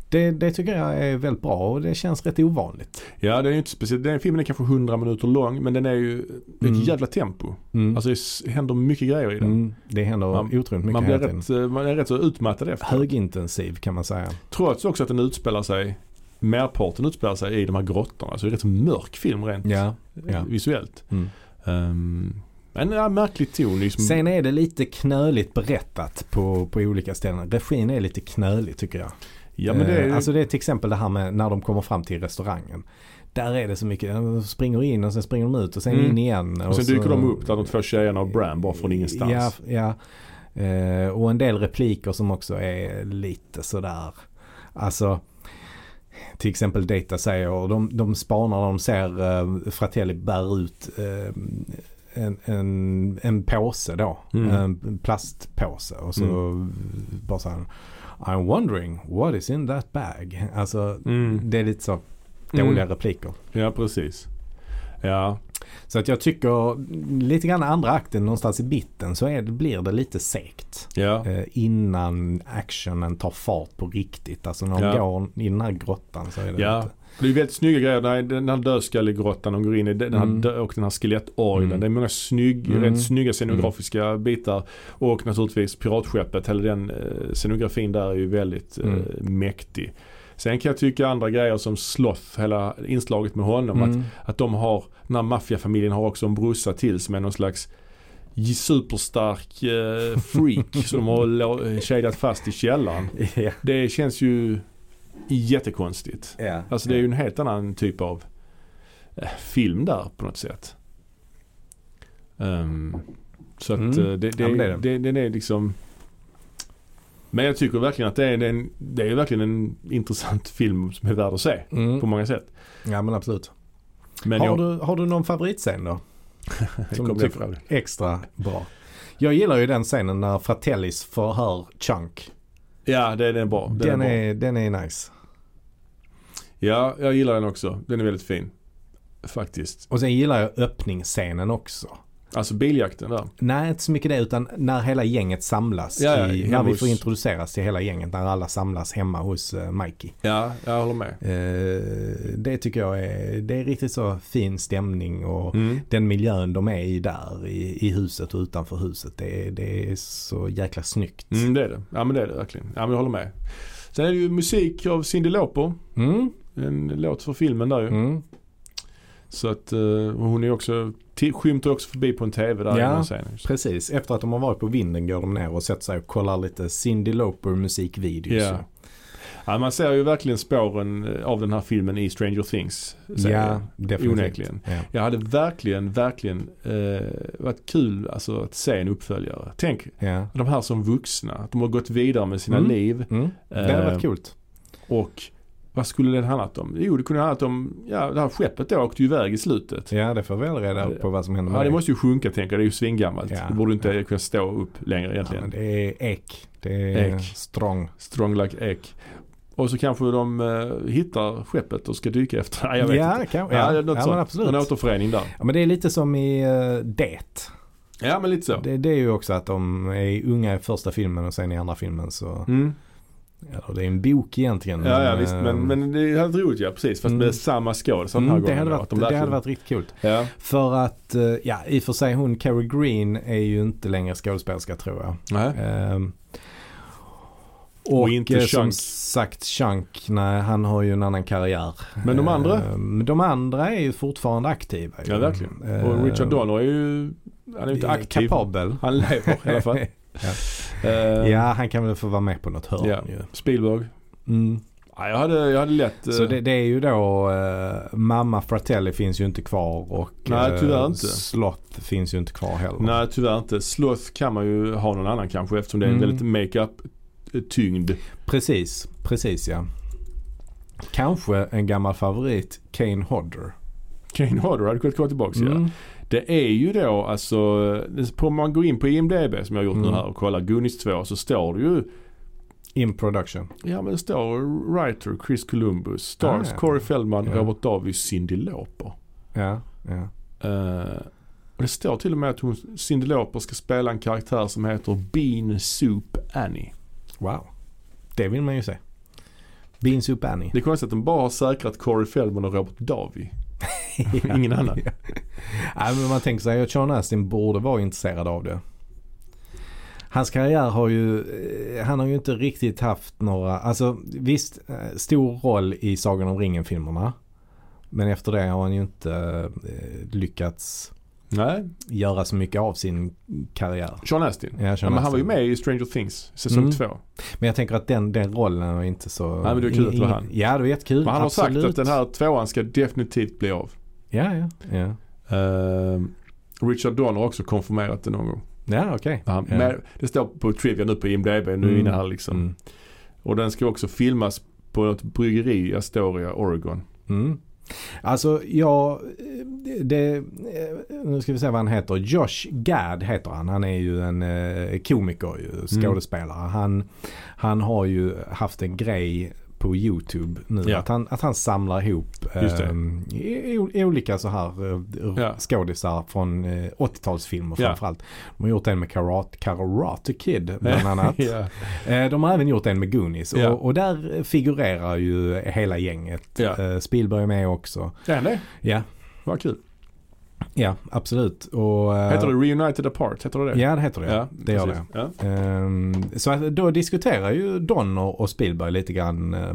B: Det, det tycker jag är väldigt bra och det känns rätt ovanligt.
A: ja, det är ju inte speciellt. Den här filmen är kanske 100 minuter lång men den är ju det är ett
B: Mm.
A: jävla tempo.
B: Mm.
A: Alltså det s- händer mycket grejer i den.
B: mm. Det händer
A: Man-
B: otroligt mycket
A: Man, blir
B: hela tiden.
A: rätt, eh, man är rätt så utmattad efter.
B: Högintensiv kan man säga.
A: Trots också att den utspelar sig, merparten utspelar sig i de här grottorna. Så det är rätt så mörk film rent
B: Ja. ja.
A: visuellt.
B: Mm.
A: Ehm, en ja, märklig ton liksom.
B: Sen är det lite knöligt berättat på, på olika ställen. Regin är lite knölig tycker jag.
A: ja men det är ju...
B: Eh, Alltså det är till exempel det här med när de kommer fram till restaurangen. Där är det så mycket, de springer in och sen springer de ut och sen
A: Mm.
B: in igen.
A: och sen
B: så-
A: dyker de upp där de två tjejerna och Bram bara från ingenstans.
B: Ja, ja. Eh, och en del repliker som också är lite sådär. Alltså till exempel Data säger, och de, de spanar när de ser eh, Fratelli bär ut eh, en, en, en påse då.
A: Mm.
B: En plastpåse. Och så bara så här, I'm wondering what is in that bag. Alltså
A: Mm.
B: det är lite så dåliga
A: Mm.
B: repliker.
A: ja precis. Ja,
B: Så att jag tycker lite grann andra akten någonstans i mitten så är, det- blir det lite segt.
A: ja.
B: Eh, innan actionen tar fart på riktigt. Alltså när de
A: Ja.
B: går i den här grottan så är det
A: Ja,
B: lite.
A: Det är ju väldigt snygga grejer. Den här, den här dödskallegrottan de går in i den här
B: Mm.
A: dö- och den här skelettorgeln.
B: Mm.
A: Det är många snygg,
B: Mm.
A: rätt snygga scenografiska bitar. Och naturligtvis piratskeppet. Hela den eh, scenografin där är ju väldigt eh,
B: Mm.
A: mäktig. Sen kan jag tycka andra grejer som Sloth, hela inslaget med honom. Att,
B: Mm.
A: att de har, den här maffiafamiljen har också en brorsa till som är någon slags superstark eh, freak som de har lo- kedjat fast i källaren.
B: Ja.
A: Det känns ju jättekonstigt.
B: Ja.
A: Alltså det är ju en helt annan typ av eh, film där på något sätt. Ehm, så att
B: Mm.
A: eh, det, det,
B: Ja, men det är
A: det,
B: den.
A: den är liksom Men jag tycker verkligen att det är, det är, en, det är verkligen en intressant film som är värd att se
B: Mm.
A: på många sätt.
B: Ja men absolut.
A: Men
B: har,
A: jag,
B: du, har du någon favoritscen då?
A: det
B: som
A: kommer
B: du
A: jag
B: tycker-
A: fram till.
B: Extra bra. Jag gillar ju den scenen när Fratellis förhör Chunk.
A: Ja, det, den är bra. Den,
B: Den,
A: är bra.
B: är, den är nice.
A: Ja, jag gillar den också. Den är väldigt fin. Faktiskt.
B: Och sen gillar jag öppningsscenen också.
A: Alltså biljakten där.
B: Nej, inte så mycket det utan när hela gänget samlas.
A: Ja, ja,
B: i,
A: hemma
B: när vi
A: hos-
B: får introduceras till hela gänget. När alla samlas hemma hos eh, Mikey.
A: Ja, jag håller med.
B: Eh, det tycker jag är, det är riktigt så fin stämning och
A: Mm.
B: den miljön de är i där i, i huset och utanför huset. Det, är- det är så jäkla snyggt.
A: Mm, det är det. Ja men det är det verkligen. Ja men jag håller med. Sen är det ju musik av Cyndi Lauper.
B: Mm,
A: En låt för filmen där ju.
B: mm.
A: Så att eh, hon är ju också, till, skymtar också förbi på en TV där
B: Ja.
A: i någon scen.
B: Precis, efter att de har varit på vinden går de ner och sätter sig och kollar lite Cyndi Lauper musikvideos.
A: Ja. Ja, man ser ju verkligen spåren eh, av den här filmen i Stranger Things.
B: ja
A: serien.
B: definitivt.
A: Onekligen.
B: Ja.
A: Jag hade verkligen, verkligen eh, varit kul alltså, att se en uppföljare. Tänk
B: Ja.
A: de här som vuxna, att de har gått vidare med sina
B: Mm.
A: liv
B: Mm. Det hade varit
A: Eh,
B: kul.
A: och vad skulle den handlat om? Jo, det kunde ha handlat om, ja det här skeppet då åkte ju iväg i slutet.
B: Ja, det får vi väl reda på vad som händer med
A: Ja, det
B: det.
A: måste ju sjunka tänker jag. Det är ju svingammalt.
B: Ja,
A: det borde inte
B: ja.
A: kunna stå upp längre
B: ja,
A: egentligen.
B: men det är ek. Det är
A: Ek.
B: strong.
A: Strong like ek. Och så kanske de eh, hittar skeppet och ska dyka efter. Nej, jag vet
B: ja,
A: inte.
B: kan,
A: Ja,
B: ja,
A: det
B: ja,
A: är något
B: men
A: sånt.
B: absolut.
A: En återförening där.
B: Ja, men det är lite som i eh, Det.
A: Ja, men lite så.
B: Det, det är ju också att de är unga i första filmen och sen i andra filmen så,
A: Mm.
B: eller det är en bok egentligen.
A: Ja, ja
B: eh,
A: visst. Men, men det hade varit roligt ja, precis. Fast
B: Mm.
A: med samma skådis den här
B: Mm, det,
A: gången.
B: hade
A: då,
B: varit,
A: att de
B: det
A: verkligen-
B: hade varit riktigt kul.
A: Ja.
B: För att, eh, ja i och för sig hon Carrie Green är ju inte längre skådespelerska tror jag.
A: Nej.
B: Ehm,
A: Och inte
B: eh, som
A: Chunk.
B: sagt Chunk, nej han har ju en annan karriär.
A: Men de andra?
B: Ehm, de andra är ju fortfarande aktiva. ju.
A: Ja, verkligen.
B: Ehm,
A: Och Richard Donner är ju... Han är ju inte
B: typ
A: aktiv.
B: Kapabel.
A: Han lever i alla fall. Eh,
B: ja, han kan väl få vara med på något hörn
A: Ja.
B: ju.
A: Spielberg.
B: Mm.
A: Ja, jag, hade, jag hade lätt... eh,
B: Så det, det är ju då eh, mamma Fratelli finns ju inte kvar och eh,
A: Nej, tyvärr inte.
B: Slott finns ju inte kvar heller.
A: Nej tyvärr inte. Sloth kan man ju ha någon annan kanske eftersom det är en
B: Mm.
A: väldigt makeup eh, tyngd.
B: Precis, precis ja. Kanske en gammal favorit, Kane Hodder.
A: Kane Hodder hade kunnat komma tillbaka ja.
B: Mm.
A: Det är ju då alltså, eh, på- om man går in på IMDB som jag har gjort
B: Mm.
A: nu här och kollar Goonies 2 så står det ju,
B: In production.
A: ja men det står writer Chris Columbus, stars
B: Ah, ja.
A: Corey Feldman,
B: Ja.
A: Robert Davis, Cyndi Lauper.
B: Ja, ja.
A: Eh, och det står till och med att hon, Cyndi Lauper ska spela en karaktär som heter Bean Soup Annie.
B: Wow. Det vill man ju se. Bean Soup Annie.
A: Det är konstigt att de bara har säkrat Corey Feldman och Robert Davi. Ingen annan.
B: Nej, men man tänker sig att Sean Astin borde vara intresserad av det. Hans karriär har ju, eh, han har ju inte riktigt haft några, alltså visst eh, stor roll i Sagan om ringen-filmerna. Men efter det har han ju inte eh, lyckats
A: Nej,
B: göra så mycket av sin karriär.
A: Sean Astin.
B: Ja,
A: Ja,
B: Sean
A: men han var ju
B: Astin.
A: med i Stranger Things säsong
B: Mm.
A: två.
B: Men jag tänker att den, den rollen är inte så...
A: Nej, men det är kul att det var han.
B: Ja det var jättekul.
A: Men han har
B: absolut.
A: sagt att den här tvåan ska definitivt bli av.
B: Ja, ja. Ja,
A: Ehm, Richard Donner har också konfirmerat det någon gång.
B: ja okej.
A: Han,
B: Ja.
A: men det står på Trivia nu på IMDB nu
B: Mm.
A: inne här liksom.
B: Mm.
A: Och den ska också filmas på något bryggeri i Astoria, Oregon.
B: Mm. Alltså jag, eh, det, eh, nu ska vi se vad han heter. Josh Gad heter han. Han är ju en
A: Mm.
B: eh, komiker ju, skådespelare. Han, han har ju haft en grej på YouTube nu.
A: Ja.
B: Att, han, att han samlar ihop
A: Just det.
B: ehm, i- i- olika så här eh,
A: Ja.
B: skådisar från eh, 80-talsfilmer
A: Ja.
B: framförallt. De har gjort en med Karate, karate Kid bland annat.
A: ja.
B: Eh, De har även gjort en med Goonies
A: Ja.
B: och, och där figurerar ju hela gänget.
A: Ja.
B: Eh, Spielberg är med också.
A: ja, nej.
B: Ja,
A: Vad kul.
B: ja absolut. Och, eh,
A: Heter det Reunited Apart? Heter det det?
B: Ja, det heter det. det gör det.
A: precis. Ja.
B: Ehm, Så att då diskuterar ju Donner och Spielberg lite grann, eh,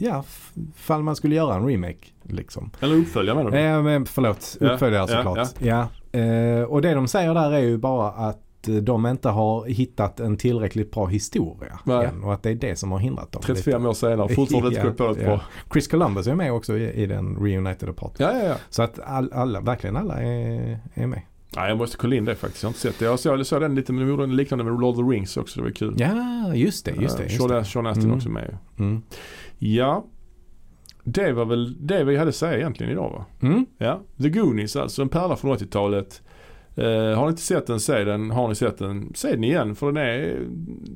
B: ja, f- fall man skulle göra en remake liksom.
A: Eller uppföljare menar du?
B: Eh, men förlåt,
A: Ja,
B: uppföljare
A: ja,
B: såklart. Ja. Eh, och det de säger där är ju bara att eh, de inte har hittat en tillräckligt bra historia.
A: Nej.
B: Än, och att det är det som har hindrat dem. lite.
A: 35 år senare, fortfarande inte
B: Ja,
A: kommit på något
B: ja.
A: bra.
B: Chris Columbus är med också i, i den Reunited Apart.
A: Ja, ja, ja.
B: Så att all, alla, verkligen alla är, är med.
A: Nej, jag måste kolla in det faktiskt. Jag har inte sett det. Jag såg, jag såg den lite, men de gjorde en liknande med Lord of the Rings också. Det var kul.
B: Ja, just det. Just det,
A: Eh,
B: just
A: Sean,
B: det.
A: Sean Astin
B: Mm.
A: också med ju.
B: Mm.
A: Ja. Det var väl det vi hade att säga egentligen idag va?
B: Mm.
A: Ja. The Goonies alltså, en pärla från 80-talet. Eh, har ni inte sett den, se den. Har ni sett den, se den igen. För den är eh,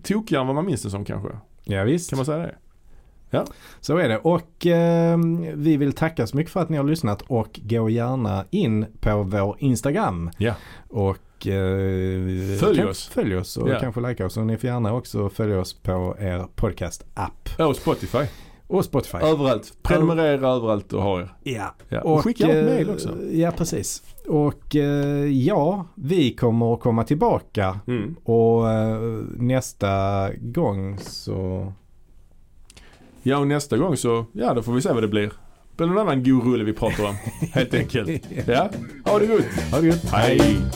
A: tokigare än vad man minns den som kanske.
B: Ja, visst.
A: Kan man säga det?
B: Så är det. Och ehm, vi vill tacka så mycket för att ni har lyssnat och gå gärna in på vår Instagram.
A: Ja.
B: Och eh,
A: Följ
B: kan-
A: oss.
B: Följ oss och
A: Ja.
B: kanske likea oss. Och ni får gärna också följa oss på er podcast-app
A: Ja, och Spotify.
B: och Spotify.
A: Överallt. Prenumerera överallt och ha er.
B: ja.
A: Ja. Och,
B: Och,
A: skicka ett
B: eh,
A: mail också.
B: Ja, precis. Och eh, ja, vi kommer att komma tillbaka.
A: Mm.
B: Och eh, nästa gång så...
A: Ja, och nästa gång så, ja då får vi se vad det blir. Det blir någon annan god rulle vi pratar om. Helt enkelt. Ja, ha det gott.
B: Ha det gött.
A: Hej.